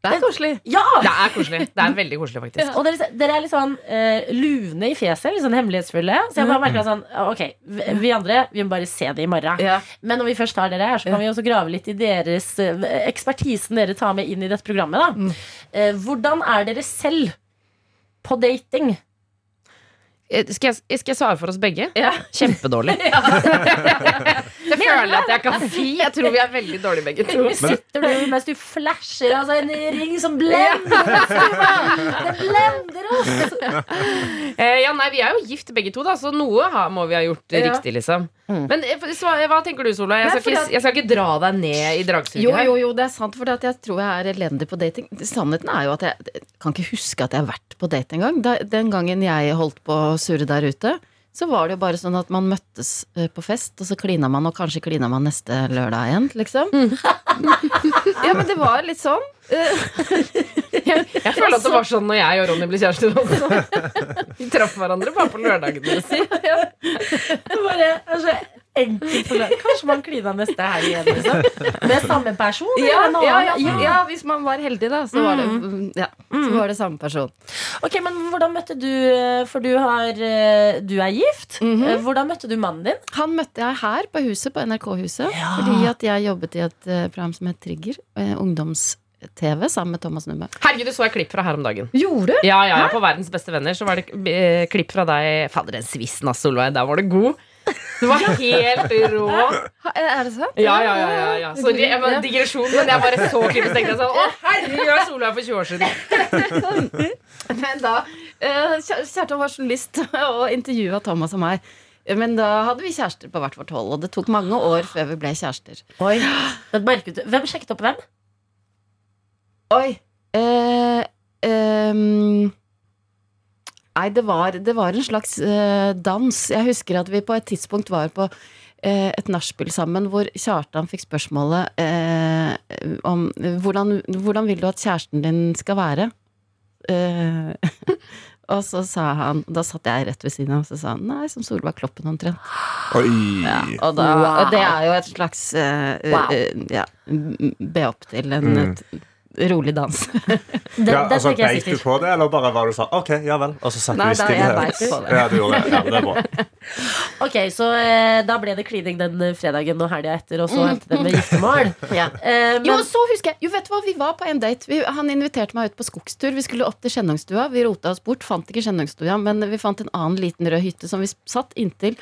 Speaker 10: Det er koselig.
Speaker 2: Ja!
Speaker 5: Det er koselig. Det er veldig koselig, faktisk.
Speaker 2: Og dere, dere er litt sånn eh, lune i fjeset, litt sånn hemmelighetsfulle. Så jeg bare merker at sånn, ok, vi- vi andre vi må bare se det i morgen.
Speaker 10: Ja.
Speaker 2: Men når vi først har dere her, så kan vi også grave litt i deres eh, ekspertisen dere tar med inn i dette programmet. Da. Eh, hvordan er dere selv på dating?
Speaker 5: Eh, Skal jeg, skal jeg svare for oss begge?
Speaker 2: Ja.
Speaker 5: Kjempedårlig. Jeg føler at jeg kan si. Jeg tror vi er veldig dårlige begge to.
Speaker 2: Sitter du mens du flasher altså en ring som blender oss? Det blender oss!
Speaker 5: Eh, ja, nei, Vi er jo gift begge to, da, så noe har, må vi ha gjort eh,
Speaker 2: Ja.
Speaker 5: riktig. liksom Men eh, sva- hva tenker du, Solveig? Jeg,
Speaker 2: Nei,
Speaker 5: skal ikke-
Speaker 2: fordi
Speaker 5: jeg skal ikke dra deg ned i dragsuget.
Speaker 10: Jo,
Speaker 5: her.
Speaker 10: jo, jo, det er sant, for det at jeg tror jeg er elendig på dating. Sannheten er jo at jeg jeg kan ikke huske at jeg har vært på date engang. Da- Den gangen jeg holdt på å surre der ute, så var det jo bare sånn at man møttes eh, på fest, og så klina man, og kanskje klina man neste lørdag igjen, liksom. ja, men det var litt sånn. Eh,
Speaker 5: Jeg føler at det var sånn når jeg og Ronny ble kjærester også. Vi traff hverandre bare på lørdagene.
Speaker 2: Det er bare er så enkelt for deg. Kanskje man klina neste helg igjen, liksom. Med samme person? eller
Speaker 10: ja,
Speaker 2: en annen,
Speaker 10: ja, ja,
Speaker 2: altså?
Speaker 10: ja, hvis man var heldig, da, så var det, mm, ja, så var det samme person.
Speaker 2: Ok, men Hvordan møtte du eh, For du, har, eh, du er gift.
Speaker 10: Mhm.
Speaker 2: Eh, Hvordan møtte du mannen din?
Speaker 10: Han møtte jeg her på huset, på NRK-huset. Fordi at jeg jobbet i et eh, program som het Trigger. eh, Ungdoms-TV sammen med Thomas Numme.
Speaker 5: Herregud, du så jeg klipp fra her om dagen.
Speaker 10: Gjorde du?
Speaker 5: Ja, ja, ja, På Verdens beste venner så var det eh, klipp fra deg. Fader, den svissen, ass, Solveig. Der var du god. Du var helt rå.
Speaker 10: Er det sant?
Speaker 5: Ja, ja, ja. ja, ja. Sorry, jeg var digresjon, men jeg bare så klippet og tenkte jeg sånn Å, herregud, jeg er Solveig for 20 år siden.
Speaker 10: Men da eh, Kjer- Kjartan var journalist og intervjua Thomas og meg. Men da hadde vi kjærester på hvert vårt hold, og det tok mange år før vi ble kjærester.
Speaker 2: Oi, men merket du Hvem sjekket opp hvem?
Speaker 10: Oi eh, ehm, Nei, det var, det var en slags eh, dans. Jeg husker at vi på et tidspunkt var på eh, et nachspiel sammen, hvor Kjartan fikk spørsmålet eh, om eh, hvordan, hvordan vil du at kjæresten din skal være? Eh, og så sa han Da satt jeg rett ved siden av, og så sa han nei, som Solveig Kloppen omtrent. Ja,
Speaker 8: Oi.
Speaker 10: og, da,
Speaker 2: Wow.
Speaker 10: og det er jo et slags eh,
Speaker 2: Wow.
Speaker 10: eh, ja, m- be opp til en
Speaker 8: Mm.
Speaker 10: t- rolig dans.
Speaker 2: Den,
Speaker 8: Ja,
Speaker 2: den
Speaker 8: altså,
Speaker 2: tenker jeg
Speaker 8: Beit du
Speaker 2: sikkert.
Speaker 8: på det, eller bare var du sånn OK, ja vel? Og så satt
Speaker 10: Nei,
Speaker 8: du i
Speaker 10: da- jeg
Speaker 8: stillhet.
Speaker 10: beit på det.
Speaker 8: Ja, du gjorde det. Ja, det er bra.
Speaker 2: Ok, Så eh, da ble det klining den eh, fredagen og helga etter, og så endte det med giftermål. Eh,
Speaker 10: Mhm. Jo,
Speaker 2: men,
Speaker 10: så husker jeg, jo, vet du hva, vi var på en date. Vi, han inviterte meg ut på skogstur. Vi skulle opp til Skjennungstua. Vi rota oss bort, fant ikke Skjennungstua, men vi fant en annen liten rød hytte som vi s- satt inntil.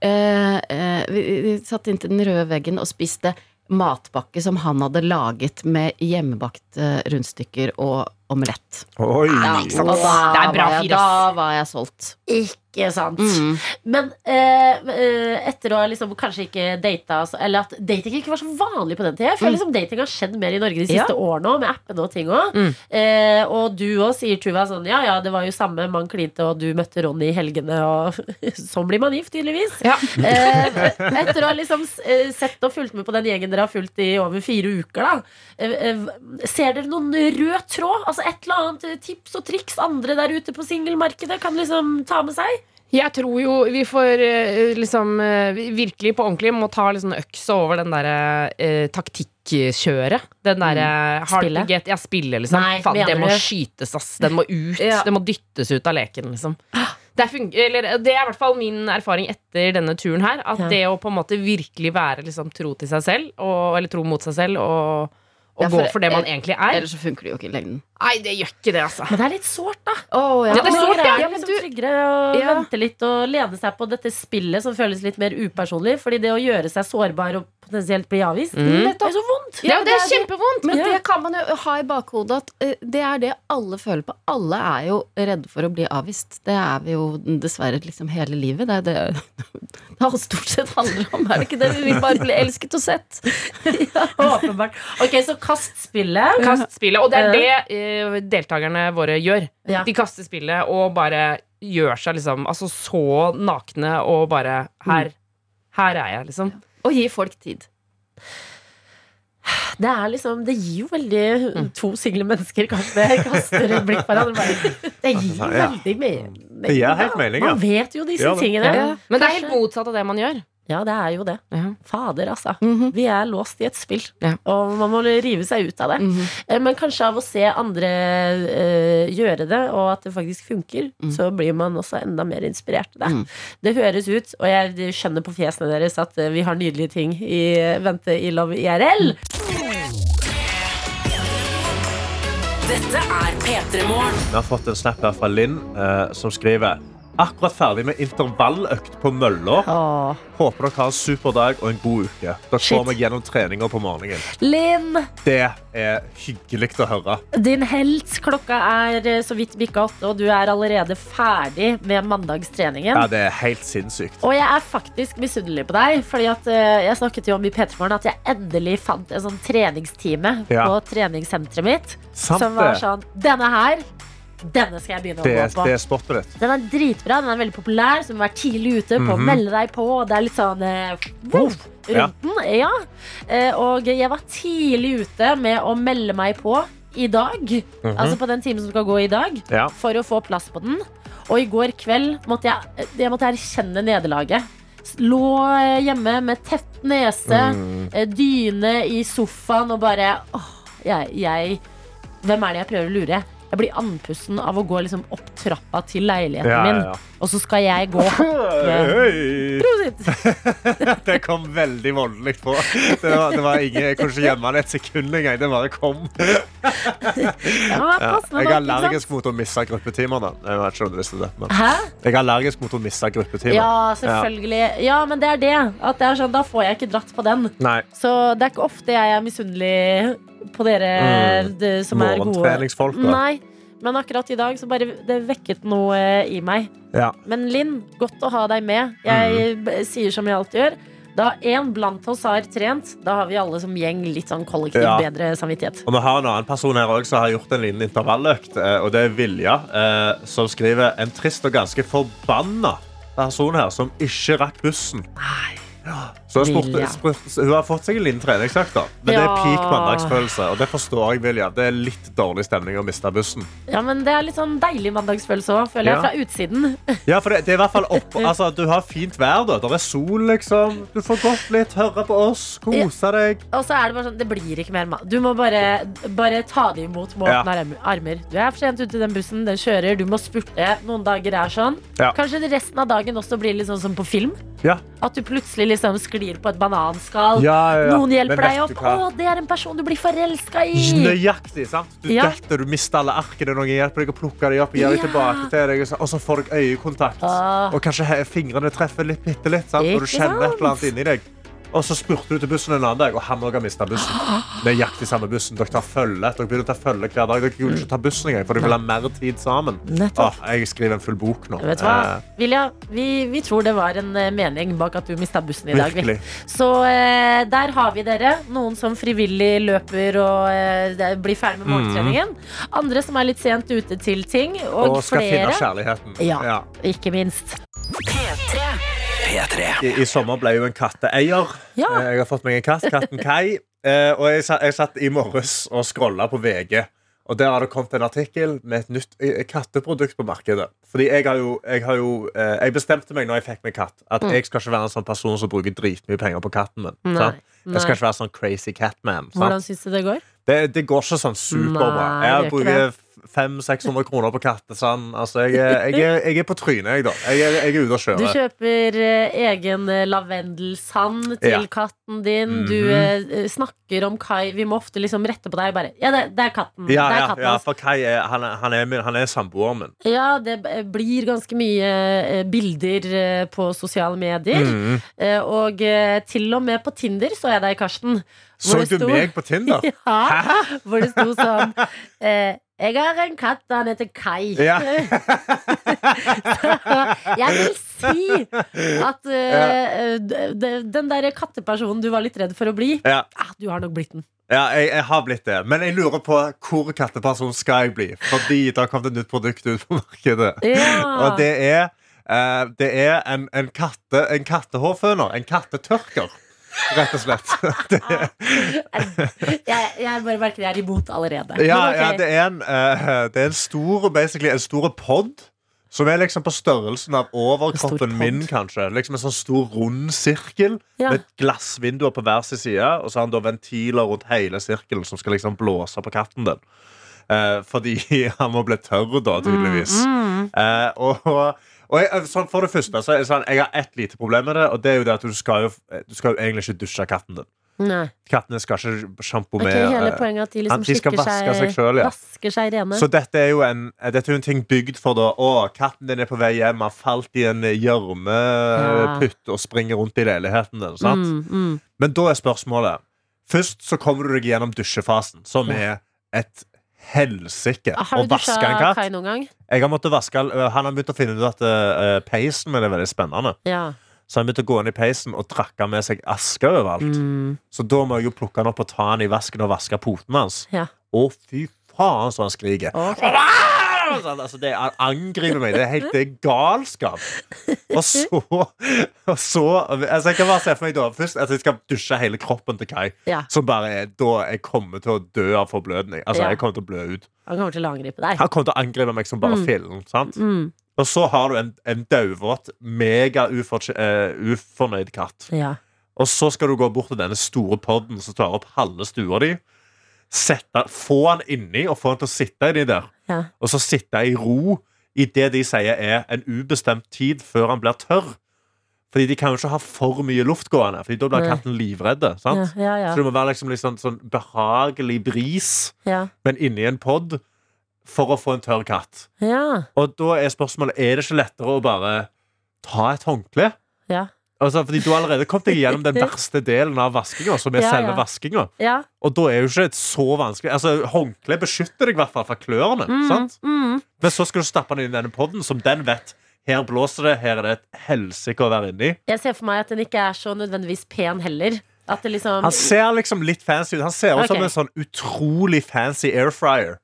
Speaker 10: Eh, eh, vi, vi satt inntil den røde veggen og spiste matpakke som han hadde laget med hjemmebakte rundstykker og omelett.
Speaker 8: Oi.
Speaker 2: Wow.
Speaker 10: Og da,
Speaker 5: Det er bra
Speaker 10: var jeg,
Speaker 5: fyr,
Speaker 10: da
Speaker 5: ass.
Speaker 10: var jeg solgt. Mm.
Speaker 2: ikke sant.
Speaker 10: Mhm.
Speaker 2: Men eh, eh, etter å ha liksom kanskje ikke data så- Eller at dating ikke var så vanlig på den tida. Jeg
Speaker 5: Mm.
Speaker 2: føler liksom dating har skjedd mer i Norge de
Speaker 10: Ja.
Speaker 2: siste årene òg, med appene og ting òg.
Speaker 5: Mm.
Speaker 2: Eh, og du òg sier Tuva sånn Ja ja, det var jo samme, man klinte, og du møtte Ronny i helgene, og sånn blir man gift, tydeligvis.
Speaker 5: Ja.
Speaker 2: Eh, etter å ha liksom eh, sett og fulgt med på den gjengen dere har fulgt i over fire uker, da. Eh, eh, Ser dere noen rød tråd? Altså Et eller annet eh, tips og triks andre der ute på singelmarkedet kan liksom ta med seg?
Speaker 5: Jeg tror jo vi får eh, liksom eh, vi- virkelig på ordentlig må ta liksom øksa over den derre eh, taktikkjøret. Den derre hard
Speaker 2: Mm. Spillet.
Speaker 5: to get. Ja, spillet, liksom.
Speaker 2: Nei,
Speaker 5: Faen, det
Speaker 2: mener
Speaker 5: må
Speaker 2: du?
Speaker 5: skytes, ass. Den må ut.
Speaker 2: Ja.
Speaker 5: Den må dyttes ut av leken, liksom. Det, fun- eller, det er i hvert fall min erfaring etter denne turen her. At
Speaker 2: Ja.
Speaker 5: det å på en måte virkelig være liksom, tro til seg selv, og, eller tro mot seg selv, og, og
Speaker 10: Ja, for-
Speaker 5: gå for det man egentlig er
Speaker 10: Ellers så funker det jo ikke i lengden.
Speaker 5: Nei, det gjør ikke det, altså.
Speaker 2: Men det er litt sårt, da.
Speaker 10: Oh,
Speaker 5: Ja, det er
Speaker 2: Noen
Speaker 5: sårt,
Speaker 2: ganger
Speaker 5: ja.
Speaker 2: er
Speaker 10: Ja,
Speaker 2: det
Speaker 10: men
Speaker 2: liksom
Speaker 10: du-
Speaker 2: tryggere å
Speaker 10: Ja.
Speaker 2: vente litt og lene seg på dette spillet som føles litt mer upersonlig. Fordi det å gjøre seg sårbar og potensielt bli avvist,
Speaker 5: Mm.
Speaker 2: det er så vondt.
Speaker 5: Ja, det er
Speaker 10: det-
Speaker 5: kjempevondt!
Speaker 10: Men
Speaker 2: Ja.
Speaker 10: det kan man jo ha i bakhodet at eh, det er det alle føler på. Alle er jo redde for å bli avvist. Det er vi jo dessverre liksom hele livet. Det er det det er stort sett handler om, er det ikke det? Vi vil bare bli elsket og sett.
Speaker 2: Åpenbart. Ok, så kast spillet.
Speaker 5: Kast spillet. Og det er det eh, deltakerne våre gjør.
Speaker 2: Ja.
Speaker 5: De kaster spillet og bare gjør seg liksom altså så nakne og bare
Speaker 2: Mm.
Speaker 5: Her. Her er jeg, liksom.
Speaker 10: Og gi folk tid.
Speaker 2: Det er liksom, det gir jo veldig
Speaker 5: Mm.
Speaker 2: To single mennesker kanskje kaster et blikk på hverandre. Bare. Det gir jo
Speaker 8: Ja.
Speaker 2: veldig mening.
Speaker 8: Det gir helt mening, ja.
Speaker 2: Man vet jo disse
Speaker 8: Ja, det-
Speaker 2: tingene. Ja.
Speaker 5: Men det er helt
Speaker 2: Kanskje-
Speaker 5: motsatt av det man gjør.
Speaker 2: det er jo det. Fader, altså.
Speaker 10: Mhm.
Speaker 2: Vi er låst i et spill,
Speaker 5: Ja.
Speaker 2: og man må rive seg ut av det.
Speaker 10: Mhm.
Speaker 2: Eh, Men kanskje av å se andre eh, gjøre det, og at det faktisk funker,
Speaker 10: Mm.
Speaker 2: så blir man også enda mer inspirert av det.
Speaker 10: Mm.
Speaker 2: Det høres ut, og jeg skjønner på fjesene deres at eh, vi har nydelige ting i eh, vente i Love IRL.
Speaker 1: Dette er P3 Morgen.
Speaker 8: Vi har fått en snap her fra Linn eh, som skriver Akkurat ferdig med intervalløkt på
Speaker 3: Mm.
Speaker 8: mølla.
Speaker 2: Åh.
Speaker 8: Håper dere har en super dag og en god uke. Dere
Speaker 2: Shit.
Speaker 8: får meg gjennom treninger på morgenen.
Speaker 2: Linn,
Speaker 8: Det er hyggelig å høre.
Speaker 2: din helt. Klokka er eh, så vidt bikka åtte, og du er allerede ferdig med mandagstreningen.
Speaker 8: Ja, det er helt sinnssykt.
Speaker 2: Og jeg er faktisk misunnelig på deg, Fordi at eh, jeg snakket jo om i Petermorgen at jeg endelig fant en sånn treningstime
Speaker 8: Ja.
Speaker 2: på treningssenteret mitt.
Speaker 8: Sant
Speaker 2: som var
Speaker 8: det.
Speaker 2: sånn Denne her, denne skal jeg begynne å
Speaker 8: Det,
Speaker 2: gå på.
Speaker 8: det er spottet ditt.
Speaker 2: Den er dritbra, den er veldig populær, så du må være tidlig ute på å melde deg på. og Det er litt sånn eh, woof,
Speaker 8: Mhm. Ja.
Speaker 2: rundt den. Ja. Eh, og jeg var tidlig ute med å melde meg på i dag.
Speaker 8: Mhm.
Speaker 2: Altså på den timen som skal gå i dag,
Speaker 8: Ja.
Speaker 2: for å få plass på den. Og i går kveld måtte jeg, jeg måtte erkjenne nederlaget. S- Lå eh, hjemme med tett nese,
Speaker 8: Mm.
Speaker 2: eh, dyne i sofaen og bare åh, jeg, jeg Hvem er det jeg prøver å lure? Jeg blir andpusten av å gå liksom opp trappa til leiligheten
Speaker 8: Ja,
Speaker 2: min,
Speaker 8: ja, ja.
Speaker 2: og så skal jeg gå eh, hoppe
Speaker 8: Hei.
Speaker 2: Prosit!
Speaker 8: Det kom veldig voldelig på. Det var, det var ingen, jeg kunne ikke gjemme det et sekund engang. Det bare kom.
Speaker 2: Ja, men
Speaker 8: Ja.
Speaker 2: pass med
Speaker 8: Jeg er
Speaker 2: nå, ikke sant?
Speaker 8: allergisk mot å miste gruppetimene. Jeg vet ikke om du visste det, men
Speaker 2: Hæ?
Speaker 8: jeg er allergisk mot å miste gruppetimer.
Speaker 2: Ja, selvfølgelig. Ja, men det er det. At det er sånn, da får jeg ikke dratt på den.
Speaker 8: Nei.
Speaker 2: Så det er ikke ofte jeg er misunnelig på dere de- som er gode.
Speaker 8: Morgentreningsfolk. da.
Speaker 2: Nei, men akkurat i dag så bare det vekket noe i meg.
Speaker 8: Ja.
Speaker 2: Men Linn, godt å ha deg med. Jeg b- sier som jeg alltid gjør. Da en blant oss har trent, da har vi alle som gjeng litt sånn kollektiv
Speaker 3: Ja.
Speaker 2: bedre samvittighet.
Speaker 3: Og vi har en annen person her også, som har gjort en liten intervalløkt. eh, Og det er Vilja, eh, som skriver en trist og ganske forbanna person her som ikke rakk bussen. Ja, Så jeg spurte,
Speaker 2: Vilja.
Speaker 3: spurte, hun har fått seg en liten treningsøkt, da. Men det er
Speaker 2: Ja.
Speaker 3: peak mandagsfølelse. Og det forstår jeg, Vilja. Det er litt dårlig stemning å miste bussen.
Speaker 2: Ja, men Det er litt sånn deilig mandagsfølelse òg, føler jeg,
Speaker 3: Ja.
Speaker 2: fra utsiden.
Speaker 3: Ja, for det, det er i hvert fall opp, altså, Du har fint vær, da. Det er sol, liksom. Du får gått litt, høre på oss, kose deg.
Speaker 2: Og så er det bare sånn, det blir ikke mer mat. Du må bare, bare ta det imot med
Speaker 3: Ja.
Speaker 2: åpne arm- armer. Du er for sent ute i den bussen, den kjører, du må spurte. Noen dager er sånn.
Speaker 3: Ja.
Speaker 2: Kanskje resten av dagen også blir litt sånn som på film.
Speaker 3: Ja.
Speaker 2: At du plutselig liksom sklir på et bananskall.
Speaker 3: Ja, ja, ja.
Speaker 2: Noen hjelper deg
Speaker 3: Men vet du
Speaker 2: opp.
Speaker 3: hva?
Speaker 2: Å, det er en person du blir forelska i!
Speaker 3: Nøyaktig, sant? Du
Speaker 2: Ja.
Speaker 3: detter, du mister alle arkene, noen hjelper deg å plukke dem opp, gir dem
Speaker 2: Ja.
Speaker 3: tilbake til deg, og så- og så får deg øyekontakt.
Speaker 2: Ah.
Speaker 3: Og kanskje he- fingrene treffer litt, bitte litt, sant? Og du
Speaker 2: Ikke
Speaker 3: kjenner et
Speaker 2: sant?
Speaker 3: eller annet inni deg. Og så spurte du til bussen en annen dag, og han også har mistet bussen.
Speaker 2: Ah.
Speaker 3: Nøyaktig samme bussen. Dere tar følge. Dere begynner å ta følge hver dag. Dere vil ikke ta bussen engang, for dere vil ha mer tid sammen.
Speaker 2: Nettopp.
Speaker 3: Åh, Ah, jeg skriver en full bok nå.
Speaker 2: Vet du hva?
Speaker 3: Eh,
Speaker 2: Vilja, vi, vi tror det var en eh, mening bak at du mista bussen i dag. vi.
Speaker 3: Virkelig.
Speaker 2: Så eh, der har vi dere. Noen som frivillig løper og eh, det- blir ferdig
Speaker 3: Mm.
Speaker 2: med morgentreningen. Andre som er litt sent ute til ting. Og,
Speaker 3: og skal
Speaker 2: flere.
Speaker 3: finne kjærligheten.
Speaker 2: Ja. Ikke minst.
Speaker 11: P3.
Speaker 3: I, I sommer ble jeg jo en katteeier.
Speaker 2: Ja.
Speaker 3: Eh, Jeg har fått meg en katt, katten Kai. Eh, Og jeg, sa- jeg satt i morges og scrolla på VG. Og der har det kommet en artikkel med et nytt eh, katteprodukt på markedet. Fordi jeg har jo, jeg har jo eh, Jeg bestemte meg når jeg fikk meg katt, at jeg skal ikke være en sånn person som bruker dritmye penger på katten min.
Speaker 2: Mm. Nei,
Speaker 3: sant?
Speaker 2: nei.
Speaker 3: Jeg skal ikke være sånn crazy cat man. Sant?
Speaker 2: Hvordan syns du det går?
Speaker 3: Det, det går ikke sånn superbra.
Speaker 2: Nei, det
Speaker 3: Jeg
Speaker 2: gjør ikke
Speaker 3: bruker 500-600 kroner på kattesand. Altså, jeg, er- jeg, er- jeg er på trynet, jeg, da. Jeg, er- jeg er ute
Speaker 2: Du
Speaker 3: og kjører.
Speaker 2: kjøper eh, egen eh, lavendelsand til
Speaker 3: Ja. Mhm.
Speaker 2: katten din. Du eh, snakker om Kai. Vi må ofte liksom rette på deg. Bare, ja, det, det er katten.
Speaker 3: Ja,
Speaker 2: det er
Speaker 3: ja,
Speaker 2: katten
Speaker 3: ja,
Speaker 2: hans.
Speaker 3: for Kai er, han, er- han er, min- han er samboeren min.
Speaker 2: Ja, det b- eh, blir ganske mye eh, bilder eh, på sosiale medier.
Speaker 3: Mhm. Mm.
Speaker 2: Eh, Og eh, til og med på Tinder så jeg deg, Karsten.
Speaker 3: Så
Speaker 2: Hvor det
Speaker 3: du
Speaker 2: sto-
Speaker 3: meg på Tinder?
Speaker 2: Ja, hvor det sto sånn eh, Jeg har en katt, han heter Kai.
Speaker 3: Ja.
Speaker 2: Jeg vil si at eh, d- d- den derre kattepersonen du var litt redd for å bli,
Speaker 3: Ja,
Speaker 2: ah, du har nok blitt den.
Speaker 3: ja jeg, jeg har blitt det. Men jeg lurer på hvor katteperson skal jeg bli. Fordi det har kommet et nytt produkt ut på markedet.
Speaker 2: Ja.
Speaker 3: Og det er, eh, det er en, en, katte, en kattehårføner. En kattetørker. Rett og slett. Det,
Speaker 2: Jeg, jeg bare merker jeg er imot allerede.
Speaker 3: ja,
Speaker 2: Men ok.
Speaker 3: ja, det er en, eh, det er en stor Basically en stor pod. Som er liksom på størrelsen av
Speaker 2: pod.
Speaker 3: overkroppen min, kanskje. Liksom En sånn stor, rund sirkel
Speaker 2: Ja.
Speaker 3: med glassvinduer på hver sin side. Og så har han da ventiler rundt hele sirkelen som skal liksom blåse på katten din. Eh, fordi han må bli tørr, da, tydeligvis.
Speaker 2: Mm,
Speaker 3: Eh, og, og, og jeg, sånn, for det første, så er det sånn, jeg har ett lite problem med det, og det er jo det at du skal jo, du skal jo egentlig ikke dusje katten din.
Speaker 2: Nei.
Speaker 3: Kattene skal ikke sjampo
Speaker 2: Ok,
Speaker 3: med
Speaker 2: hele
Speaker 3: eh,
Speaker 2: poenget er at de liksom
Speaker 3: at de skal
Speaker 2: slikker
Speaker 3: vaske
Speaker 2: seg,
Speaker 3: seg selv, ja.
Speaker 2: vasker seg rene.
Speaker 3: Så dette er jo en, eh, dette er jo en ting bygd for da Å, katten din er på vei hjem, har falt i en gjørmeputt og springer rundt i leiligheten din. Sant?
Speaker 2: Mm.
Speaker 3: Men da er spørsmålet Først så kommer du deg gjennom dusjefasen, som er et helsike
Speaker 2: Ah, Har
Speaker 3: å
Speaker 2: du
Speaker 3: vaske
Speaker 2: dusja
Speaker 3: en katt.
Speaker 2: Kai noen gang?
Speaker 3: Jeg har måttet vaske, eh, han har begynt å finne ut at eh, peisen min er veldig spennende.
Speaker 2: Ja.
Speaker 3: Så han begynte å gå inn i peisen og trakka med seg aske overalt.
Speaker 2: Mm.
Speaker 3: Så da må jeg jo plukke han opp og ta han i vasken og vaske poten hans.
Speaker 2: Ja.
Speaker 3: Å, fy faen, så han skriker.
Speaker 2: Ok.
Speaker 3: Sånn, altså, det er, han angriper meg. Det er helt det er galskap. Og så, og så altså, Jeg kan bare se for meg da først at jeg skal dusje hele kroppen til Kai.
Speaker 2: Ja.
Speaker 3: Som bare er da jeg kommer til å dø av forblødning. Altså,
Speaker 2: Ja.
Speaker 3: jeg kommer til å blø ut.
Speaker 2: Han kommer til å angripe deg.
Speaker 3: Han kommer til å angripe meg som bare fillen. sant?
Speaker 2: Mm.
Speaker 3: Og så har du en, en dauvåt, mega ufortj- eh, ufornøyd katt.
Speaker 2: Ja.
Speaker 3: Og så skal du gå bort til denne store podden som tar opp halve stua di. Sette, få han inni og få han til å sitte inni der.
Speaker 2: Ja.
Speaker 3: Og så sitte i ro i det de sier er en ubestemt tid før han blir tørr. Fordi de kan jo ikke ha for mye luft gående, Fordi da blir
Speaker 2: Nei.
Speaker 3: katten livredde.
Speaker 2: Ja,
Speaker 3: sant?
Speaker 2: ja, ja,
Speaker 3: Så det må være liksom litt sånn, sånn behagelig bris,
Speaker 2: ja.
Speaker 3: men inni en pod for å få en tørr katt.
Speaker 2: ja.
Speaker 3: Og da er spørsmålet Er det ikke lettere å bare ta et håndkle?
Speaker 2: Ja.
Speaker 3: Altså, fordi du har allerede kommet deg gjennom den verste delen av vaskinga, som er
Speaker 2: Ja,
Speaker 3: selve
Speaker 2: ja.
Speaker 3: vaskinga.
Speaker 2: ja.
Speaker 3: Og da er jo ikke et så vanskelig Altså,
Speaker 2: Mm.
Speaker 3: Håndkle beskytter deg i hvert fall fra klørne. Sant? Men så skal du stappe den inn i denne poden, som den vet Her blåser det, her er det et helsike å være inni.
Speaker 2: Jeg ser for meg at den ikke er så nødvendigvis pen heller. At det liksom
Speaker 3: Han ser liksom litt fancy ut. Han ser ut som
Speaker 2: Ok.
Speaker 3: en sånn utrolig fancy air fryer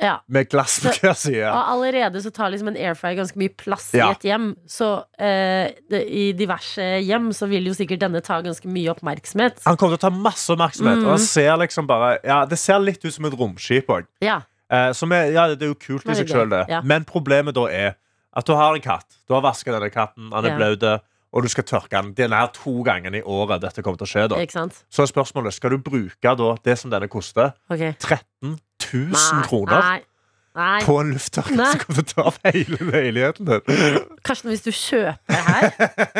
Speaker 2: ja.
Speaker 3: med glass på
Speaker 2: Så-
Speaker 3: hver side.
Speaker 2: Og allerede så tar liksom en airfryer ganske mye plass
Speaker 3: Ja.
Speaker 2: i et hjem. Så eh, det, i diverse hjem så vil jo sikkert denne ta ganske mye oppmerksomhet.
Speaker 3: Han kommer til å ta masse oppmerksomhet,
Speaker 2: Mm.
Speaker 3: og han ser liksom bare Ja, det ser litt ut som et romskip òg.
Speaker 2: Ja.
Speaker 3: Eh, som er, ja, det er jo kult i
Speaker 2: Men det er
Speaker 3: seg sjøl, det.
Speaker 2: gøy, ja.
Speaker 3: Men problemet da er at du har en katt. Du har vaska denne katten, han er
Speaker 2: Ja.
Speaker 3: blaut, og du skal tørke den. Det er nær to ganger i året dette kommer til å skje. da
Speaker 2: Ikke sant?
Speaker 3: Så er spørsmålet skal du bruke da det som denne koster,
Speaker 2: Ok.
Speaker 3: 13 000
Speaker 2: Nei,
Speaker 3: kroner
Speaker 2: Nei. Nei.
Speaker 3: på en lufttørker
Speaker 2: Nei.
Speaker 3: som kommer til å ta opp hele leiligheten din?
Speaker 2: Karsten, hvis du kjøper her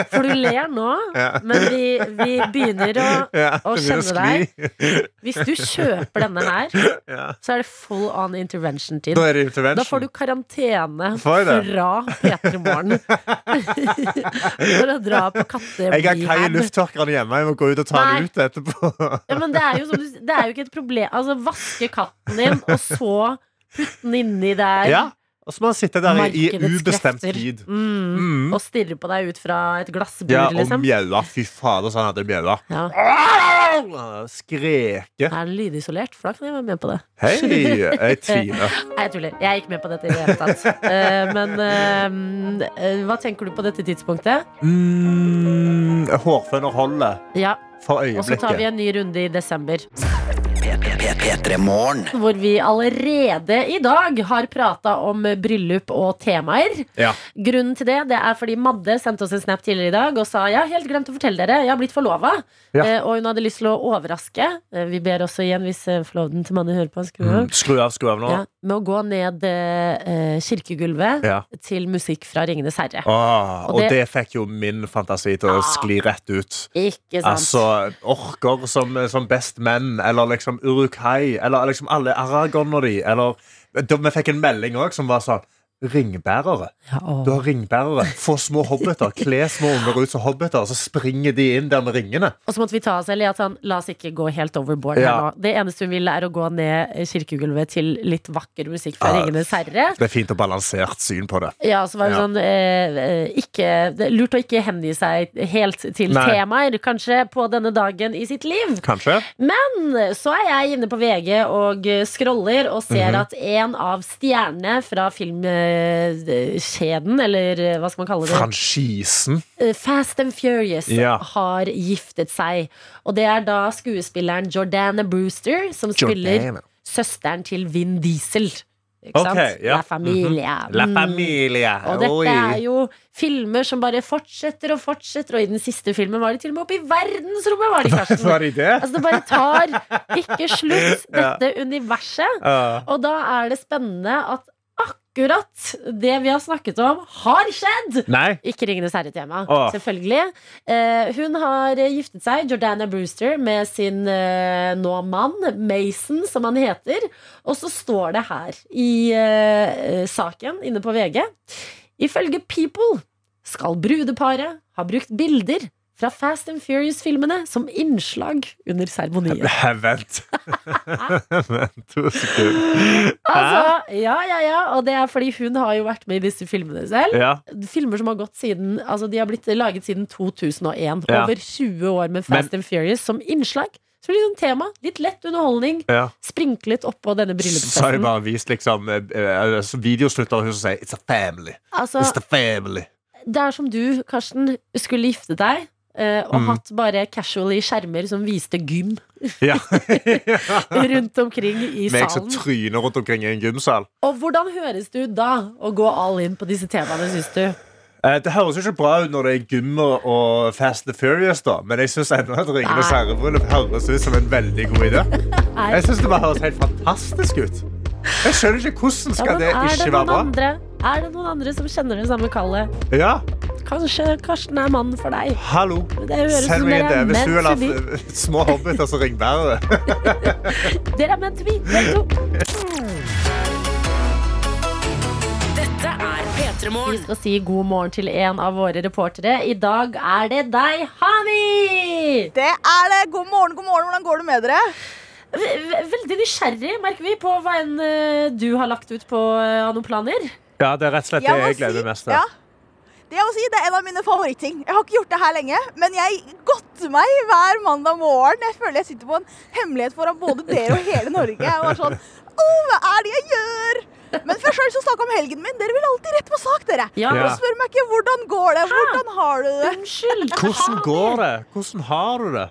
Speaker 2: For du ler nå, men vi, vi begynner å
Speaker 3: Ja,
Speaker 2: Å,
Speaker 3: det blir
Speaker 2: skjønner
Speaker 3: skli.
Speaker 2: Hvis du kjøper denne her,
Speaker 3: Ja.
Speaker 2: så er det full on intervention-tid.
Speaker 3: Da er det
Speaker 2: Da
Speaker 3: intervention.
Speaker 2: får du karantene
Speaker 3: Får jeg det?
Speaker 2: fra P3 Morgen. For å dra på
Speaker 3: Jeg har Kai i
Speaker 2: katterehab.
Speaker 3: lufttørkeren hjemme. Jeg må gå ut og ta
Speaker 2: Nei.
Speaker 3: den ut etterpå.
Speaker 2: Ja, men det er, jo som du, det er jo ikke et problem. Altså, vaske katten din, og så putte den inni der.
Speaker 3: Ja, og så må han sitte der i, i
Speaker 2: Markedets
Speaker 3: ubestemt
Speaker 2: krefter.
Speaker 3: tid.
Speaker 2: Mm,
Speaker 3: Mm.
Speaker 2: og stirre på deg ut fra et glassbur,
Speaker 3: Ja, og
Speaker 2: liksom.
Speaker 3: mjaua. Fy fader, så han hadde mjaua.
Speaker 2: Ja.
Speaker 3: Skreke.
Speaker 2: Er den lydisolert? For da kan jeg være med på det.
Speaker 3: Hei, jeg tviler.
Speaker 2: Nei, jeg tuller. Jeg er ikke med på dette i det hele tatt. Eh, men eh, eh, hva tenker du på dette tidspunktet?
Speaker 3: Mm, Hårføner holder
Speaker 2: Ja,
Speaker 3: for
Speaker 2: Og så tar vi
Speaker 3: øyeblikket.
Speaker 2: en ny runde i desember.
Speaker 12: P3morgen.
Speaker 2: hvor vi allerede i dag har prata om bryllup og temaer.
Speaker 3: Ja.
Speaker 2: Grunnen til det det er fordi Madde sendte oss en snap tidligere i dag og sa jeg har helt glemt å fortelle dere, jeg har blitt forlova.
Speaker 3: Ja.
Speaker 2: Eh, og hun hadde lyst til å overraske. Eh, vi ber også igjen, hvis eh, forloveden til mannen hører på, skru av.
Speaker 3: Mm, skru av, skru av nå.
Speaker 2: Ja, med å gå ned eh, eh, kirkegulvet
Speaker 3: Ja.
Speaker 2: til musikk fra Ringenes herre.
Speaker 3: Åh,
Speaker 2: Og
Speaker 3: Ah, og
Speaker 2: det-
Speaker 3: det fikk jo min fantasi til å skli rett ut.
Speaker 2: Ikke sant?
Speaker 3: Altså, orker som, som best menn, eller liksom Urukai, eller liksom alle aragoner de, eller da, Vi fikk en melding òg som var sånn Ringbærere.
Speaker 2: ja, åh.
Speaker 3: Du har ringbærere. Få små hobbiter. Kle små unger ut som hobbiter, så springer de inn der med ringene.
Speaker 2: Og så måtte vi ta oss selv i at sånn, la oss ikke gå helt overboard
Speaker 3: Ja.
Speaker 2: her nå. Det eneste hun vil, er å gå ned kirkegulvet til litt vakker musikk fra
Speaker 3: Ja.
Speaker 2: Ringenes herre.
Speaker 3: Det er fint og balansert syn på det.
Speaker 2: Ja, så var det
Speaker 3: Ja.
Speaker 2: sånn eh, eh, ikke, det er Lurt å ikke hengi seg helt til
Speaker 3: Nei.
Speaker 2: temaer, kanskje, på denne dagen i sitt liv.
Speaker 3: Kanskje?
Speaker 2: Men så er jeg inne på VG og eh, scroller og ser
Speaker 3: Mhm.
Speaker 2: at en av stjernene fra filmkjeden, eller eh, hva skal man kalle det?
Speaker 3: Franchisen.
Speaker 2: Eh, Fast and Furious
Speaker 3: Ja.
Speaker 2: har giftet seg. Og det er da skuespilleren Jordana Brewster som spiller
Speaker 3: Jordana.
Speaker 2: søsteren til Vin Diesel. Ikke
Speaker 3: Ok,
Speaker 2: sant?
Speaker 3: ja. Mhm.
Speaker 2: La Familia.
Speaker 3: La
Speaker 2: Mm.
Speaker 3: familia.
Speaker 2: Og dette er
Speaker 3: Oi.
Speaker 2: jo filmer som bare fortsetter og fortsetter, og i den siste filmen var de til og med oppe i verdensrommet! Var de, Karsten.
Speaker 3: Var de det?
Speaker 2: Altså, det bare tar ikke slutt, dette universet.
Speaker 3: Ja.
Speaker 2: Og da er det spennende at akkurat det vi har snakket om, har skjedd!
Speaker 3: Nei?
Speaker 2: Ikke Ringenes herre-tema,
Speaker 3: Åh.
Speaker 2: selvfølgelig. Eh, hun har eh, giftet seg, Jordana Brewster, med sin eh, nå mann, Mason, som han heter. Og så står det her i eh, eh, saken inne på VG Ifølge People skal brudeparet ha brukt bilder fra Fast and Furious-filmene som innslag under seremonien.
Speaker 3: Nei, Vent. Vent to sekunder.
Speaker 2: Altså, ja, ja, ja. Og det er fordi hun har jo vært med i disse filmene selv.
Speaker 3: Ja.
Speaker 2: filmer som har gått siden Altså de har blitt laget siden 2001
Speaker 3: Ja.
Speaker 2: Over 20 år med Fast and Furious Som innslag Så litt sånn tema, litt lett underholdning
Speaker 3: ja.
Speaker 2: Sprinklet oppå denne
Speaker 3: Så har de
Speaker 2: bryllupsfesten
Speaker 3: bare vist liksom eh, eh, så Videoen slutter og hun sier 'It's a family'.
Speaker 2: Altså,
Speaker 3: It's the family.
Speaker 2: det er som du, Karsten Skulle gifte deg eh, Og
Speaker 3: Mm.
Speaker 2: hatt bare casually skjermer som viste gym
Speaker 3: Ja.
Speaker 2: Rundt omkring i
Speaker 3: Meg
Speaker 2: salen
Speaker 3: som tryner rundt omkring i en gymsal.
Speaker 2: Og hvordan høres du da Å gå all in på disse temaene, synes du?
Speaker 3: Eh, Det høres jo ikke bra ut når det er gymmer og Fast and Furious, da. Men jeg syns ennå at Ringenes
Speaker 2: Nei.
Speaker 3: herre-bryllup høres ut som en veldig god idé.
Speaker 2: Nei.
Speaker 3: Jeg synes det bare høres helt fantastisk ut. Jeg skjønner ikke hvordan
Speaker 2: Ja,
Speaker 3: skal
Speaker 2: men
Speaker 3: det
Speaker 2: er
Speaker 3: ikke
Speaker 2: det noen
Speaker 3: være bra.
Speaker 2: andre? Er det noen andre som kjenner det samme kallet?
Speaker 3: Ja,
Speaker 2: Kanskje Karsten er mannen for deg
Speaker 3: hallo.
Speaker 2: Det høres ut
Speaker 3: Send
Speaker 2: som
Speaker 3: meg en
Speaker 2: dere er
Speaker 3: DV
Speaker 2: meant
Speaker 3: eller
Speaker 2: to be.
Speaker 3: f- små hobbiter som ringbærer.
Speaker 2: Dere er meant to be, begge to.
Speaker 13: Dette er P3
Speaker 2: Vi
Speaker 13: Morgen.
Speaker 2: skal si god morgen til en av våre reportere. I dag er det deg, Hani!
Speaker 7: Det er det! God morgen, god morgen. Hvordan går det med dere?
Speaker 2: V- v- Veldig nysgjerrig, merker vi, på hva enn eh, du har lagt ut på eh, av noen planer.
Speaker 3: Ja, det er rett og slett
Speaker 7: Jeg må si- Ja. Jeg må si, Det er en av mine favorittting. Jeg har ikke gjort det her lenge, men jeg godter meg hver mandag morgen. Jeg føler jeg sitter på en hemmelighet foran både dere og hele Norge. Jeg var sånn, Åh, hva er det jeg gjør? Men først har jeg lyst til å snakke om helgen min. Dere vil alltid rett på sak, dere.
Speaker 14: Ja.
Speaker 7: Og spør meg ikke hvordan går det, hvordan har du det?
Speaker 3: Hvordan går det? Hvordan har du det?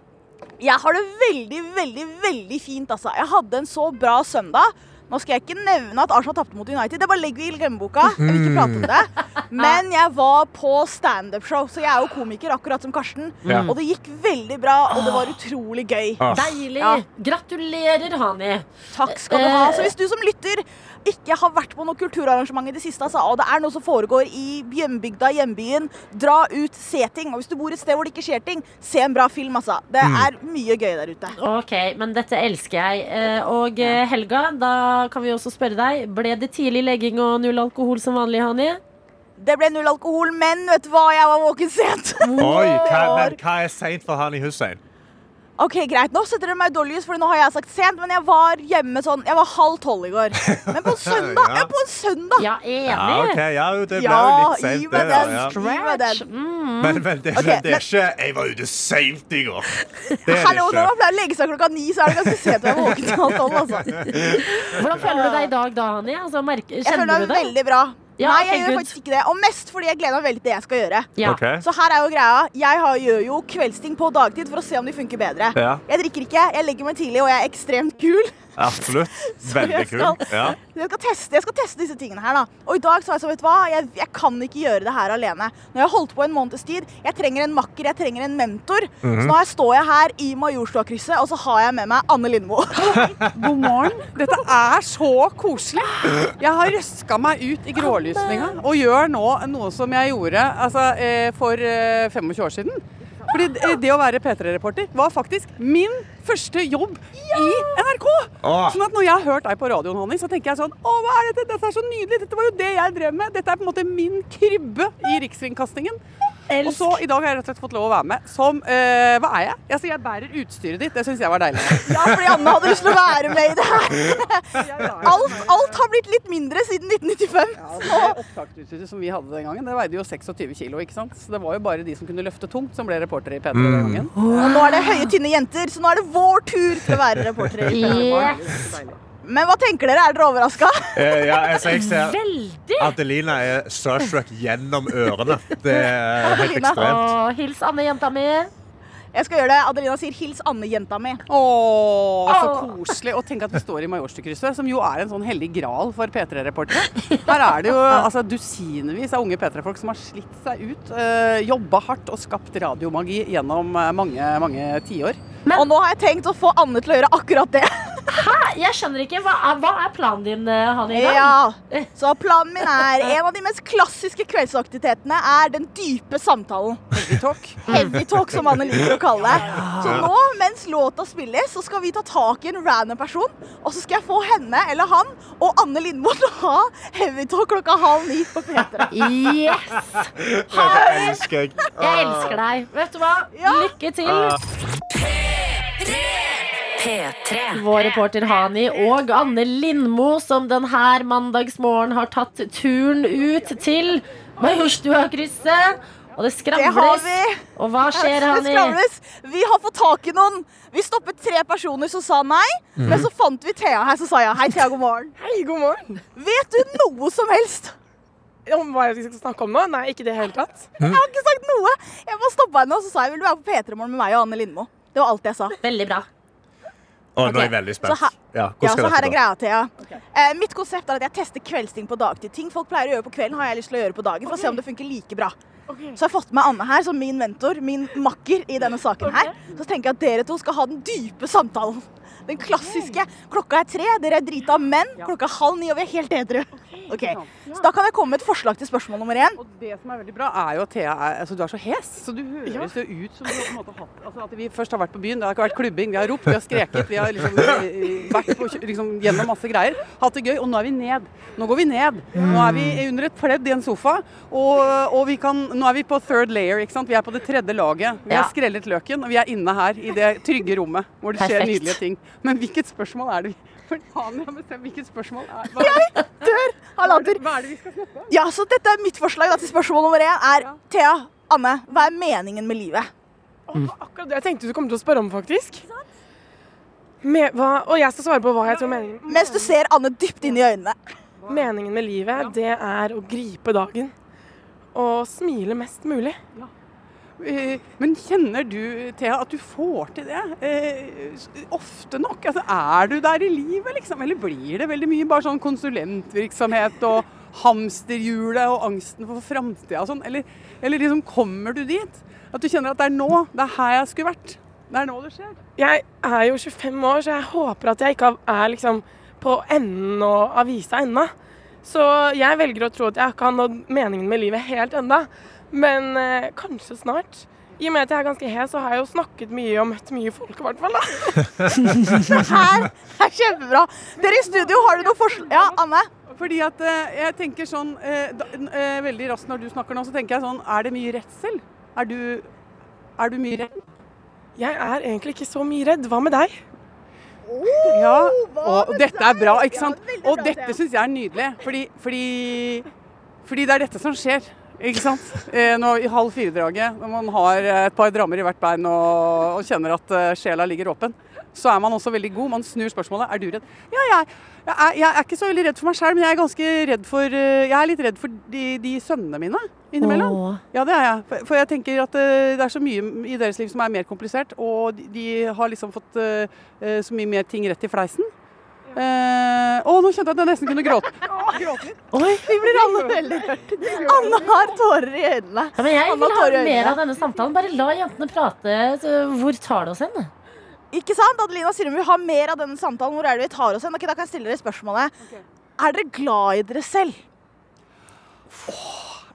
Speaker 7: Jeg har det veldig, veldig, veldig fint, altså. Jeg hadde en så bra søndag. Nå skal jeg ikke nevne at Arsenal tapte mot United. Det bare legger vi i glemmeboka. Jeg vil ikke prate om det. Men jeg var på standup-show, så jeg er jo komiker, akkurat som Karsten.
Speaker 2: Ja.
Speaker 7: Og det gikk veldig bra, og det var utrolig gøy.
Speaker 2: Ah. Deilig. Gratulerer, Hani.
Speaker 7: Takk skal du ha. Så hvis du som lytter ikke har vært på noe kulturarrangement i det siste, altså, og det er noe som foregår i hjembygda, hjembyen, dra ut, se ting. Og hvis du bor et sted hvor det ikke skjer ting, se en bra film, altså. Det
Speaker 2: Mm.
Speaker 7: er mye gøy der ute.
Speaker 2: Ok, men dette elsker jeg. Eh, Og eh, Helga, da kan vi også spørre deg. Ble det tidlig legging og null alkohol som vanlig, Hani?
Speaker 7: Det ble null alkohol, men vet du hva? Jeg var våken sent.
Speaker 3: Oi, hva, men, hva er seint for Hani Hussein?
Speaker 7: Ok, greit. Nå setter dere meg i dårlig lys, for nå har jeg sagt sent, men jeg var hjemme sånn Jeg var halv tolv i går. Men på en søndag!
Speaker 3: Ja.
Speaker 7: Ja, på en søndag!
Speaker 2: Ja,
Speaker 3: Ja, ok, ja, jo, det ble jo
Speaker 7: Ja,
Speaker 3: litt seint.
Speaker 7: gi
Speaker 3: det,
Speaker 7: meg den.
Speaker 3: ja.
Speaker 7: Gi meg den.
Speaker 2: Mm.
Speaker 3: Men, men det,
Speaker 7: Ok,
Speaker 3: men det
Speaker 7: men-
Speaker 3: er ikke 'jeg var ute seint i går'. Det er
Speaker 7: Hallo,
Speaker 3: det
Speaker 7: når man
Speaker 3: ikke.
Speaker 7: pleier å legge seg klokka ni, så er det ganske sent å være våken til halv tolv, altså.
Speaker 2: Hvordan føler du deg i dag da, Hani? Altså, merke,
Speaker 7: Jeg føler
Speaker 2: kjenner du
Speaker 7: meg
Speaker 2: det?
Speaker 7: veldig bra.
Speaker 2: Ja,
Speaker 7: Nei,
Speaker 2: ok,
Speaker 7: jeg gjør
Speaker 2: good.
Speaker 7: faktisk ikke det. Og mest fordi jeg gleder meg veldig til det jeg skal gjøre.
Speaker 2: Ja. Ok.
Speaker 7: Så her er jo greia. Jeg har, gjør jo kveldsting på dagtid for å se om de funker bedre.
Speaker 3: Ja.
Speaker 7: Jeg drikker ikke, jeg legger meg tidlig, og jeg er ekstremt kul.
Speaker 3: Absolutt.
Speaker 7: Så
Speaker 3: Veldig
Speaker 7: jeg
Speaker 3: kul.
Speaker 7: skal-
Speaker 3: Ja.
Speaker 7: Jeg skal, teste, jeg skal teste disse tingene her, da. Og i dag sa jeg så, vet du hva, jeg, jeg kan ikke gjøre det her alene. Nå har jeg holdt på en måneds tid. Jeg trenger en makker, jeg trenger en mentor.
Speaker 3: Mhm.
Speaker 7: Så nå her står jeg her i Majorstua-krysset, og så har jeg med meg Anne Lindmo.
Speaker 6: God morgen. Dette er så koselig. Jeg har røska meg ut i grålysvinga og gjør nå noe som jeg gjorde altså, eh, for eh, 25 år siden. Fordi eh, det å være P3-reporter var faktisk min første jobb i NRK.
Speaker 3: Åh.
Speaker 6: Sånn at når jeg har hørt deg på radioen, Honning, så tenker jeg sånn Å, hva er dette? Dette er så nydelig. Dette var jo det jeg drev med. Dette er på en måte min krybbe i Rikskringkastingen. Og så i dag har jeg rett og slett fått lov å være med som eh, Hva er jeg? Altså, jeg bærer utstyret ditt. Det syns jeg var deilig.
Speaker 7: Ja, fordi Anne hadde lyst til å være med i det her. Alt, alt har blitt litt mindre siden 1995.
Speaker 6: Det opptaksutstyret som vi hadde den gangen, det veide jo 26 kilo, ikke sant? Så det var jo bare de som kunne løfte tungt, som ble reportere i P3 den gangen.
Speaker 7: Og nå er det høye, tynne jenter, så nå er det vår tur til å være reportere. i P3 Morgen. Men hva tenker dere? Er dere overraska?
Speaker 3: Eh, ja, altså, jeg ser
Speaker 2: Veldig.
Speaker 3: Adelina er starstruck gjennom ørene. Det er helt
Speaker 7: Adelina.
Speaker 3: ekstremt.
Speaker 2: Å, hils Anne, jenta mi.
Speaker 7: Jeg skal gjøre det. Adelina sier 'hils Anne-jenta mi'.
Speaker 6: Åh, så
Speaker 7: Åh.
Speaker 6: koselig. Og tenk at vi står i Majorstukrysset, som jo er en sånn hellig gral for P3-reportere. Her er det jo altså, dusinvis av unge P3-folk som har slitt seg ut, øh, jobba hardt og skapt radiomagi gjennom eh, mange, mange tiår.
Speaker 7: Og nå har jeg tenkt å få Anne til å gjøre akkurat det.
Speaker 2: Hæ? Jeg skjønner ikke. Hva er, hva er planen din, eh, Hani? i dag?
Speaker 7: Ja, så planen min er En av de mest klassiske kveldsaktivitetene er den dype samtalen.
Speaker 6: Heavy talk.
Speaker 7: Heavy talk, som Anne liker å kalle det. Så nå, mens låta spilles, så skal vi ta tak i en random person. Og så skal jeg få henne eller han og Anne Lindmo til å ha heavy talk klokka halv ni på P3.
Speaker 2: Yes!
Speaker 3: Dette elsker jeg.
Speaker 2: Jeg
Speaker 7: Ah.
Speaker 2: elsker deg. Vet du hva? Lykke til.
Speaker 15: P3.
Speaker 2: Vår reporter Hani og Anne Lindmo, som denne mandagsmorgen har tatt turen ut til Majorstua-krysset. Og det
Speaker 7: Det har
Speaker 2: skravles.
Speaker 7: vi.
Speaker 2: Og hva skjer,
Speaker 7: Det
Speaker 2: Hani?
Speaker 7: skravles. Vi har fått tak i noen. Vi stoppet tre personer som sa nei, men så fant vi Thea her, så sa jeg hei, Thea, god morgen.
Speaker 16: Mhm. Hei, god morgen.
Speaker 7: Vet du noe som helst?
Speaker 16: Om hva jeg skal snakke om nå? Nei, ikke i det hele tatt.
Speaker 7: Jeg har ikke sagt noe. Jeg bare stoppa henne og så sa jeg, vil du være på P3 Morgen med meg og Anne Lindmo. Det var alt jeg sa.
Speaker 2: Veldig bra.
Speaker 3: Å, nå er
Speaker 7: Ok,
Speaker 3: jeg veldig
Speaker 7: så her-
Speaker 3: spent. Ja,
Speaker 7: Ja,
Speaker 3: hvordan
Speaker 7: så
Speaker 3: skal
Speaker 7: her er
Speaker 3: dette gå?
Speaker 7: greia, Thea. Eh, mitt konsept er at jeg tester kveldsting på dagtid. Ting folk pleier å gjøre på kvelden, har jeg lyst til å gjøre på dagen. For å se om det funker like bra. Så jeg har fått med Anne her som min mentor, min makker i denne saken her. Så tenker jeg at dere to skal ha den dype samtalen. Den klassiske. Klokka er tre, dere er drita menn. Klokka er halv ni, og vi er helt edru. Ok, Så da kan jeg komme med et forslag til spørsmål nummer én.
Speaker 6: Og det som er veldig bra, er jo at Thea er, altså, du er så hes. Så du høres jo ut som du på en måte har hatt altså, At vi først har vært på byen, det har ikke vært klubbing, vi har ropt, vi har skreket, vi har liksom eh, vært på, kjø- liksom, gjennom masse greier. Hatt det gøy. Og nå er vi ned. Nå går vi ned. Nå er vi under et pledd i en sofa, og, og vi kan Nå er vi på third layer, ikke sant. Vi er på det tredje laget. Vi
Speaker 2: Ja.
Speaker 6: har skrellet løken, og vi er inne her i det trygge rommet hvor det skjer
Speaker 2: Perfekt.
Speaker 6: nydelige ting. Men hvilket spørsmål er det vi for faen, jeg har bestemt hvilket spørsmål er hva-
Speaker 7: Dør! av latter.
Speaker 9: Hva er det vi skal snakke om?
Speaker 7: Ja, så dette er mitt forslag da, til spørsmål nummer én er Thea, Anne, hva er meningen med livet?
Speaker 9: Akkurat det jeg tenkte du kom til å spørre om, faktisk. Med, hva, og jeg skal svare på hva jeg tror meningen
Speaker 7: Mens du ser Anne dypt inn i øynene.
Speaker 9: Meningen med livet, det er å gripe dagen. Og smile mest mulig.
Speaker 10: Eh, Men kjenner du, Thea, at du får til det eh, s- ofte nok? Altså, er du der i livet, liksom? Eller blir det veldig mye bare sånn konsulentvirksomhet og hamsterhjulet og angsten for framtida og sånn? Eller, eller liksom kommer du dit? At du kjenner at det er nå, det er her jeg skulle vært. Det er nå det skjer.
Speaker 9: Jeg er jo 25 år, så jeg håper at jeg ikke er liksom på enden og avisa ennå. Så jeg velger å tro at jeg ikke har nådd meningen med livet helt enda. Men eh, kanskje snart. I og med at jeg er ganske hes, så har jeg jo snakket mye og møtt mye folk, i hvert fall. da.
Speaker 7: Her er kjempebra. Dere i studio, har du noe forslag? Ja, Anne?
Speaker 10: Fordi at eh, jeg tenker sånn eh, da, n- eh, Veldig raskt når du snakker nå, så tenker jeg sånn Er det mye redsel? Er du, er du mye redd?
Speaker 9: Jeg er egentlig ikke så mye redd. Hva med deg?
Speaker 10: Ja, og dette er bra, ikke sant? Og dette syns jeg er nydelig, fordi, fordi, fordi det er dette som skjer. Ikke sant? Eh, Nå, I halv fire-draget, når man har eh, et par drammer i hvert bein og, og kjenner at eh, sjela ligger åpen, så er man også veldig god. Man snur spørsmålet. Er du redd? Ja, jeg, jeg, er, jeg er ikke så veldig redd for meg sjøl, men jeg er ganske redd for eh, Jeg er litt redd for de, de sønnene mine innimellom.
Speaker 2: Åh.
Speaker 10: Ja, det er jeg. For- For jeg tenker at eh, det er så mye i deres liv som er mer komplisert, og de, de har liksom fått eh, eh, så mye mer ting rett i fleisen. Eh, Å, nå kjente jeg at jeg nesten kunne gråte.
Speaker 7: Vi blir alle veldig rørt. Anne har tårer i øynene.
Speaker 2: Ja, men jeg
Speaker 7: Anne
Speaker 2: vil
Speaker 7: har
Speaker 2: ha
Speaker 7: tårer
Speaker 2: mer
Speaker 7: i
Speaker 2: av
Speaker 7: øynene.
Speaker 2: denne samtalen. Bare la jentene prate. Så Hvor tar det oss hen?
Speaker 7: Ikke sant? Adelina sier hun vil ha mer av denne samtalen. Hvor er det vi tar oss hen? Ok, da kan jeg stille dere spørsmålet. Er dere glad i dere selv?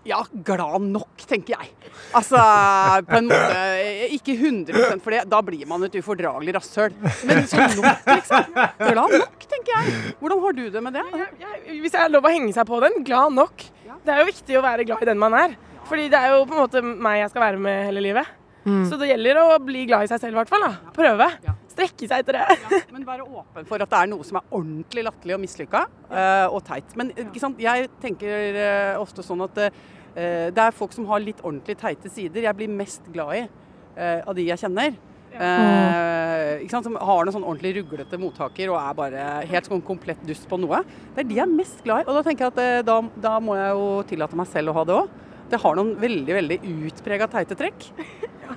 Speaker 10: Ja, glad nok, tenker jeg. Altså, på en måte eh, Ikke 100 for det, da blir man et ufordragelig rasshøl. Men sånn nok, liksom. Glad nok, tenker jeg. Hvordan har du det med det?
Speaker 9: Hvis jeg har lov å henge seg på den, glad nok. Det er jo viktig å være glad i den man er. Fordi det er jo på en måte meg jeg skal være med hele livet.
Speaker 10: Mm.
Speaker 9: Så det gjelder å bli glad i seg selv, i hvert fall. da. Prøve. Strekke seg etter det.
Speaker 10: Men være åpen for at det er noe som er ordentlig latterlig og mislykka eh, og teit. Men eh, ikke sant? jeg tenker eh, ofte sånn at eh, det er folk som har litt ordentlig teite sider jeg blir mest glad i eh, av de jeg kjenner. Eh, ikke sant? Som har noen sånn ordentlig ruglete mottaker og er bare helt sånn komplett dust på noe. Det er de jeg er mest glad i. Og da tenker jeg at eh, da, da må jeg jo tillate meg selv å ha det òg. Det har noen veldig veldig utprega teite trekk.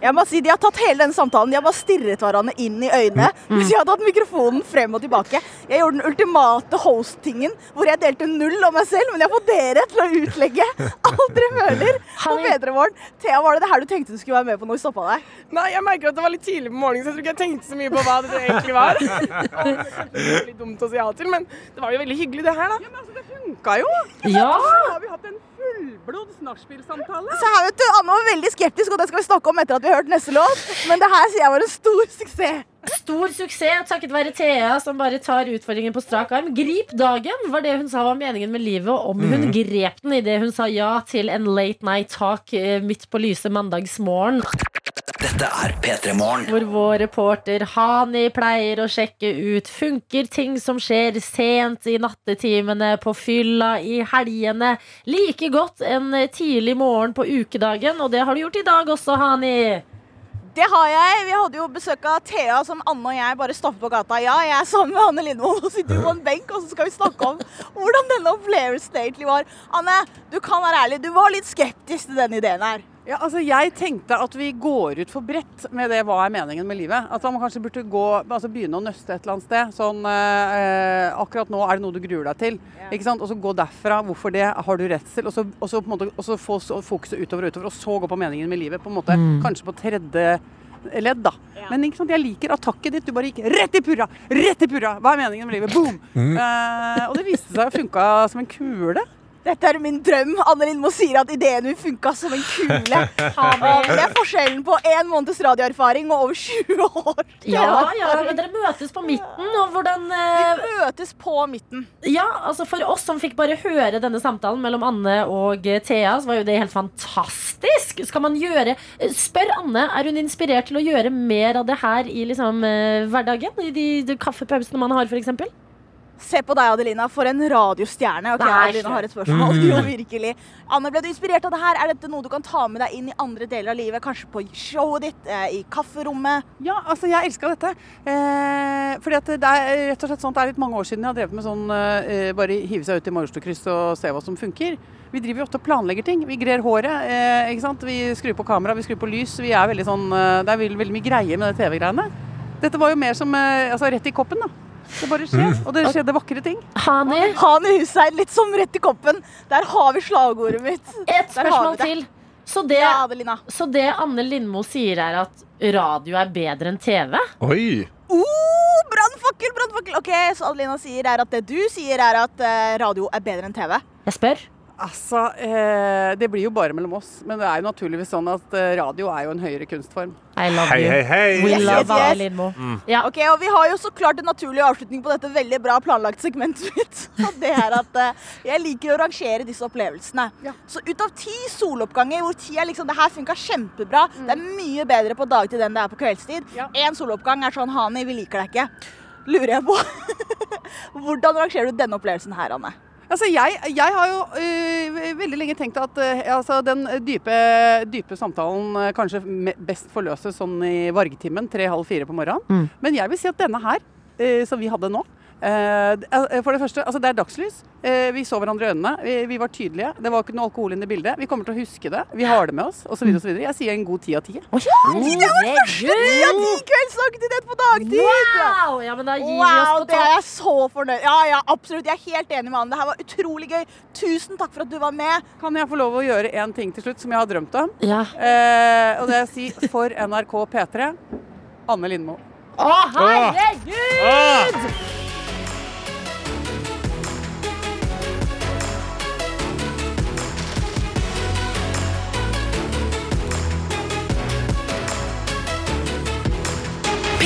Speaker 7: Jeg må si, De har tatt hele den samtalen. De har bare stirret hverandre inn i øynene. Mens jeg hadde hatt mikrofonen frem og tilbake. Jeg gjorde den ultimate host-tingen hvor jeg delte null om meg selv, men jeg får dere til å utlegge alt dere føler på Bedremorgen. Thea, var det det her du tenkte du skulle være med på når vi stoppa deg?
Speaker 9: Nei, jeg merker at det var litt tidlig på morgenen, så jeg tror ikke jeg tenkte så mye på hva det egentlig var. Det var litt dumt å si ja til, men det var jo veldig hyggelig, det her, da. Ja, men altså, det
Speaker 10: funka jo.
Speaker 2: Ja!
Speaker 10: Her har vi hatt en fullblods nachspiel-samtale.
Speaker 7: Så her vet du, Anne var veldig skeptisk, og det skal vi snakke om etter at vi har hørt neste låt. Men det her sier jeg var en stor suksess.
Speaker 2: Stor suksess takket være Thea, som bare tar utfordringen på strak arm. Grip dagen, var det hun sa var meningen med livet. Og om hun
Speaker 17: Mhm.
Speaker 2: grep den idet hun sa ja til en late night talk eh, midt på lyse mandagsmorgen.
Speaker 18: Dette er P3 Morgen.
Speaker 2: Hvor vår reporter Hani pleier å sjekke ut Funker ting som skjer sent i nattetimene På fylla i helgene Like godt en tidlig morgen på ukedagen Og det har du gjort i dag også, Hani
Speaker 7: Det har jeg. Vi hadde jo besøk av Thea, som Anne og jeg bare stoppet på gata. Ja, jeg er sammen med Anne Lindvold og sitter på en benk, og så skal vi snakke om hvordan denne opplevelsen egentlig var. Anne, du kan være ærlig. Du var litt skeptisk til den ideen her.
Speaker 10: Ja, altså Jeg tenkte at vi går ut for bredt med det hva er meningen med livet. At man kanskje burde gå, altså begynne å nøste et eller annet sted. Sånn eh, eh, akkurat nå er det noe du gruer deg til. ikke sant? Og så gå derfra. Hvorfor det? Har du redsel? Og så, og så, på en måte, og så få så fokuset utover og utover, og så gå på meningen med livet. på en måte,
Speaker 19: Mm.
Speaker 10: Kanskje på tredje ledd, da. Men ikke sant, jeg liker attakket ditt. Du bare gikk rett i purra! Rett i purra! Hva er meningen med livet? Boom!
Speaker 7: Mm.
Speaker 10: Eh, og det viste seg å funka som en kule.
Speaker 7: Dette er min drøm. Anne Lindmo sier at ideen min funka som en kule. Og Det er forskjellen på én måneds radioerfaring og over 20 år.
Speaker 2: Ja, ja, men dere møtes på midten Og hvordan eh,
Speaker 7: Vi møtes på midten
Speaker 2: Ja, altså for oss som fikk bare høre denne samtalen Mellom Anne og eh, Thea Så var jo det helt fantastisk Skal man gjøre eh, Spør Anne, er hun inspirert til å gjøre mer av det her I liksom eh, hverdagen I de, de kaffepausene man har for eksempel
Speaker 7: Se på deg, Adelina, for en radiostjerne. Ok,
Speaker 20: Nei,
Speaker 7: Adelina
Speaker 20: slutt.
Speaker 7: har et spørsmål.
Speaker 20: Mhm.
Speaker 7: Jo, virkelig. Anne, ble du inspirert av det her? Er dette noe du kan ta med deg inn i andre deler av livet? Kanskje på showet ditt, eh, i kafferommet?
Speaker 10: Ja, altså jeg elska dette. Eh, fordi at det er rett og slett sånn at det er litt mange år siden jeg har drevet med sånn eh, bare hive seg ut i Majorstukryss og se hva som funker. Vi driver jo ofte og planlegger ting. Vi grer håret, eh, ikke sant. Vi skrur på kamera, vi skrur på lys. Vi er veldig sånn eh, Det er veldig, veldig mye greier med det TV-greiene. Dette var jo mer som eh, altså rett i koppen, da. Det bare skjer, og det skjedde vakre ting.
Speaker 2: Hani?
Speaker 7: Hani Hussein, litt som rett i koppen. Der har vi slagordet mitt.
Speaker 2: Et
Speaker 7: Der har
Speaker 2: spørsmål
Speaker 7: vi
Speaker 2: til.
Speaker 7: det.
Speaker 2: Så det,
Speaker 7: Ja, Adelina.
Speaker 2: så det Anne Lindmo sier, er at radio er bedre enn TV?
Speaker 3: Oi!
Speaker 7: Oh, brannfakkel, brannfakkel! Ok, Så Adelina sier er at det du sier, er at eh, radio er bedre enn TV?
Speaker 2: Jeg spør.
Speaker 10: Altså, eh, det blir jo bare mellom oss. Men det er jo naturligvis sånn at eh, radio er jo en høyere kunstform.
Speaker 2: I love
Speaker 3: Hei,
Speaker 2: you.
Speaker 3: hei, hei.
Speaker 2: We
Speaker 3: Yes,
Speaker 2: love
Speaker 3: yes,
Speaker 2: Anne
Speaker 3: yes.
Speaker 2: Lindmo.
Speaker 3: Mm.
Speaker 7: Ok, og Vi har jo så klart en naturlig avslutning på dette veldig bra planlagt segmentet mitt. Og det er at eh, jeg liker å rangere disse opplevelsene. Så ut av ti soloppganger hvor ti er liksom Det her funka kjempebra.
Speaker 2: Mm.
Speaker 7: Det er mye bedre på dagtid enn det er på kveldstid. Én soloppgang er sånn Hani, vi liker deg ikke. Lurer jeg på. Hvordan rangerer du denne opplevelsen her, Anne?
Speaker 10: Altså, jeg, jeg har jo øh, veldig lenge tenkt at øh, altså, den dype, dype samtalen øh, kanskje me- best forløses sånn i vargetimen, tre-halv fire på morgenen.
Speaker 20: Mm.
Speaker 10: Men jeg vil si at denne her, øh, som vi hadde nå øh, d- eh, for det første, altså Det er dagslys. Eh, vi så hverandre i øynene. Vi, vi var tydelige. Det var ikke noe alkohol inne i bildet. Vi kommer til å huske det. Vi har det med oss, osv. osv. Jeg sier en god ti av ti.
Speaker 7: Det var første ti av ti kveldsaktivitet på dagtid!
Speaker 2: Wow! Ja, men da gir vi oss på
Speaker 7: Wow, det er
Speaker 2: topp.
Speaker 7: jeg så fornøyd Ja, ja, absolutt. Jeg er helt enig med Anne. Det her var utrolig gøy. Tusen takk for at du var med.
Speaker 10: Kan jeg få lov å gjøre en ting til slutt som jeg har drømt om?
Speaker 2: Ja.
Speaker 10: Eh, og det er å si for NRK P3 Anne Lindmo.
Speaker 2: Å, herregud!
Speaker 21: P3 Morgen.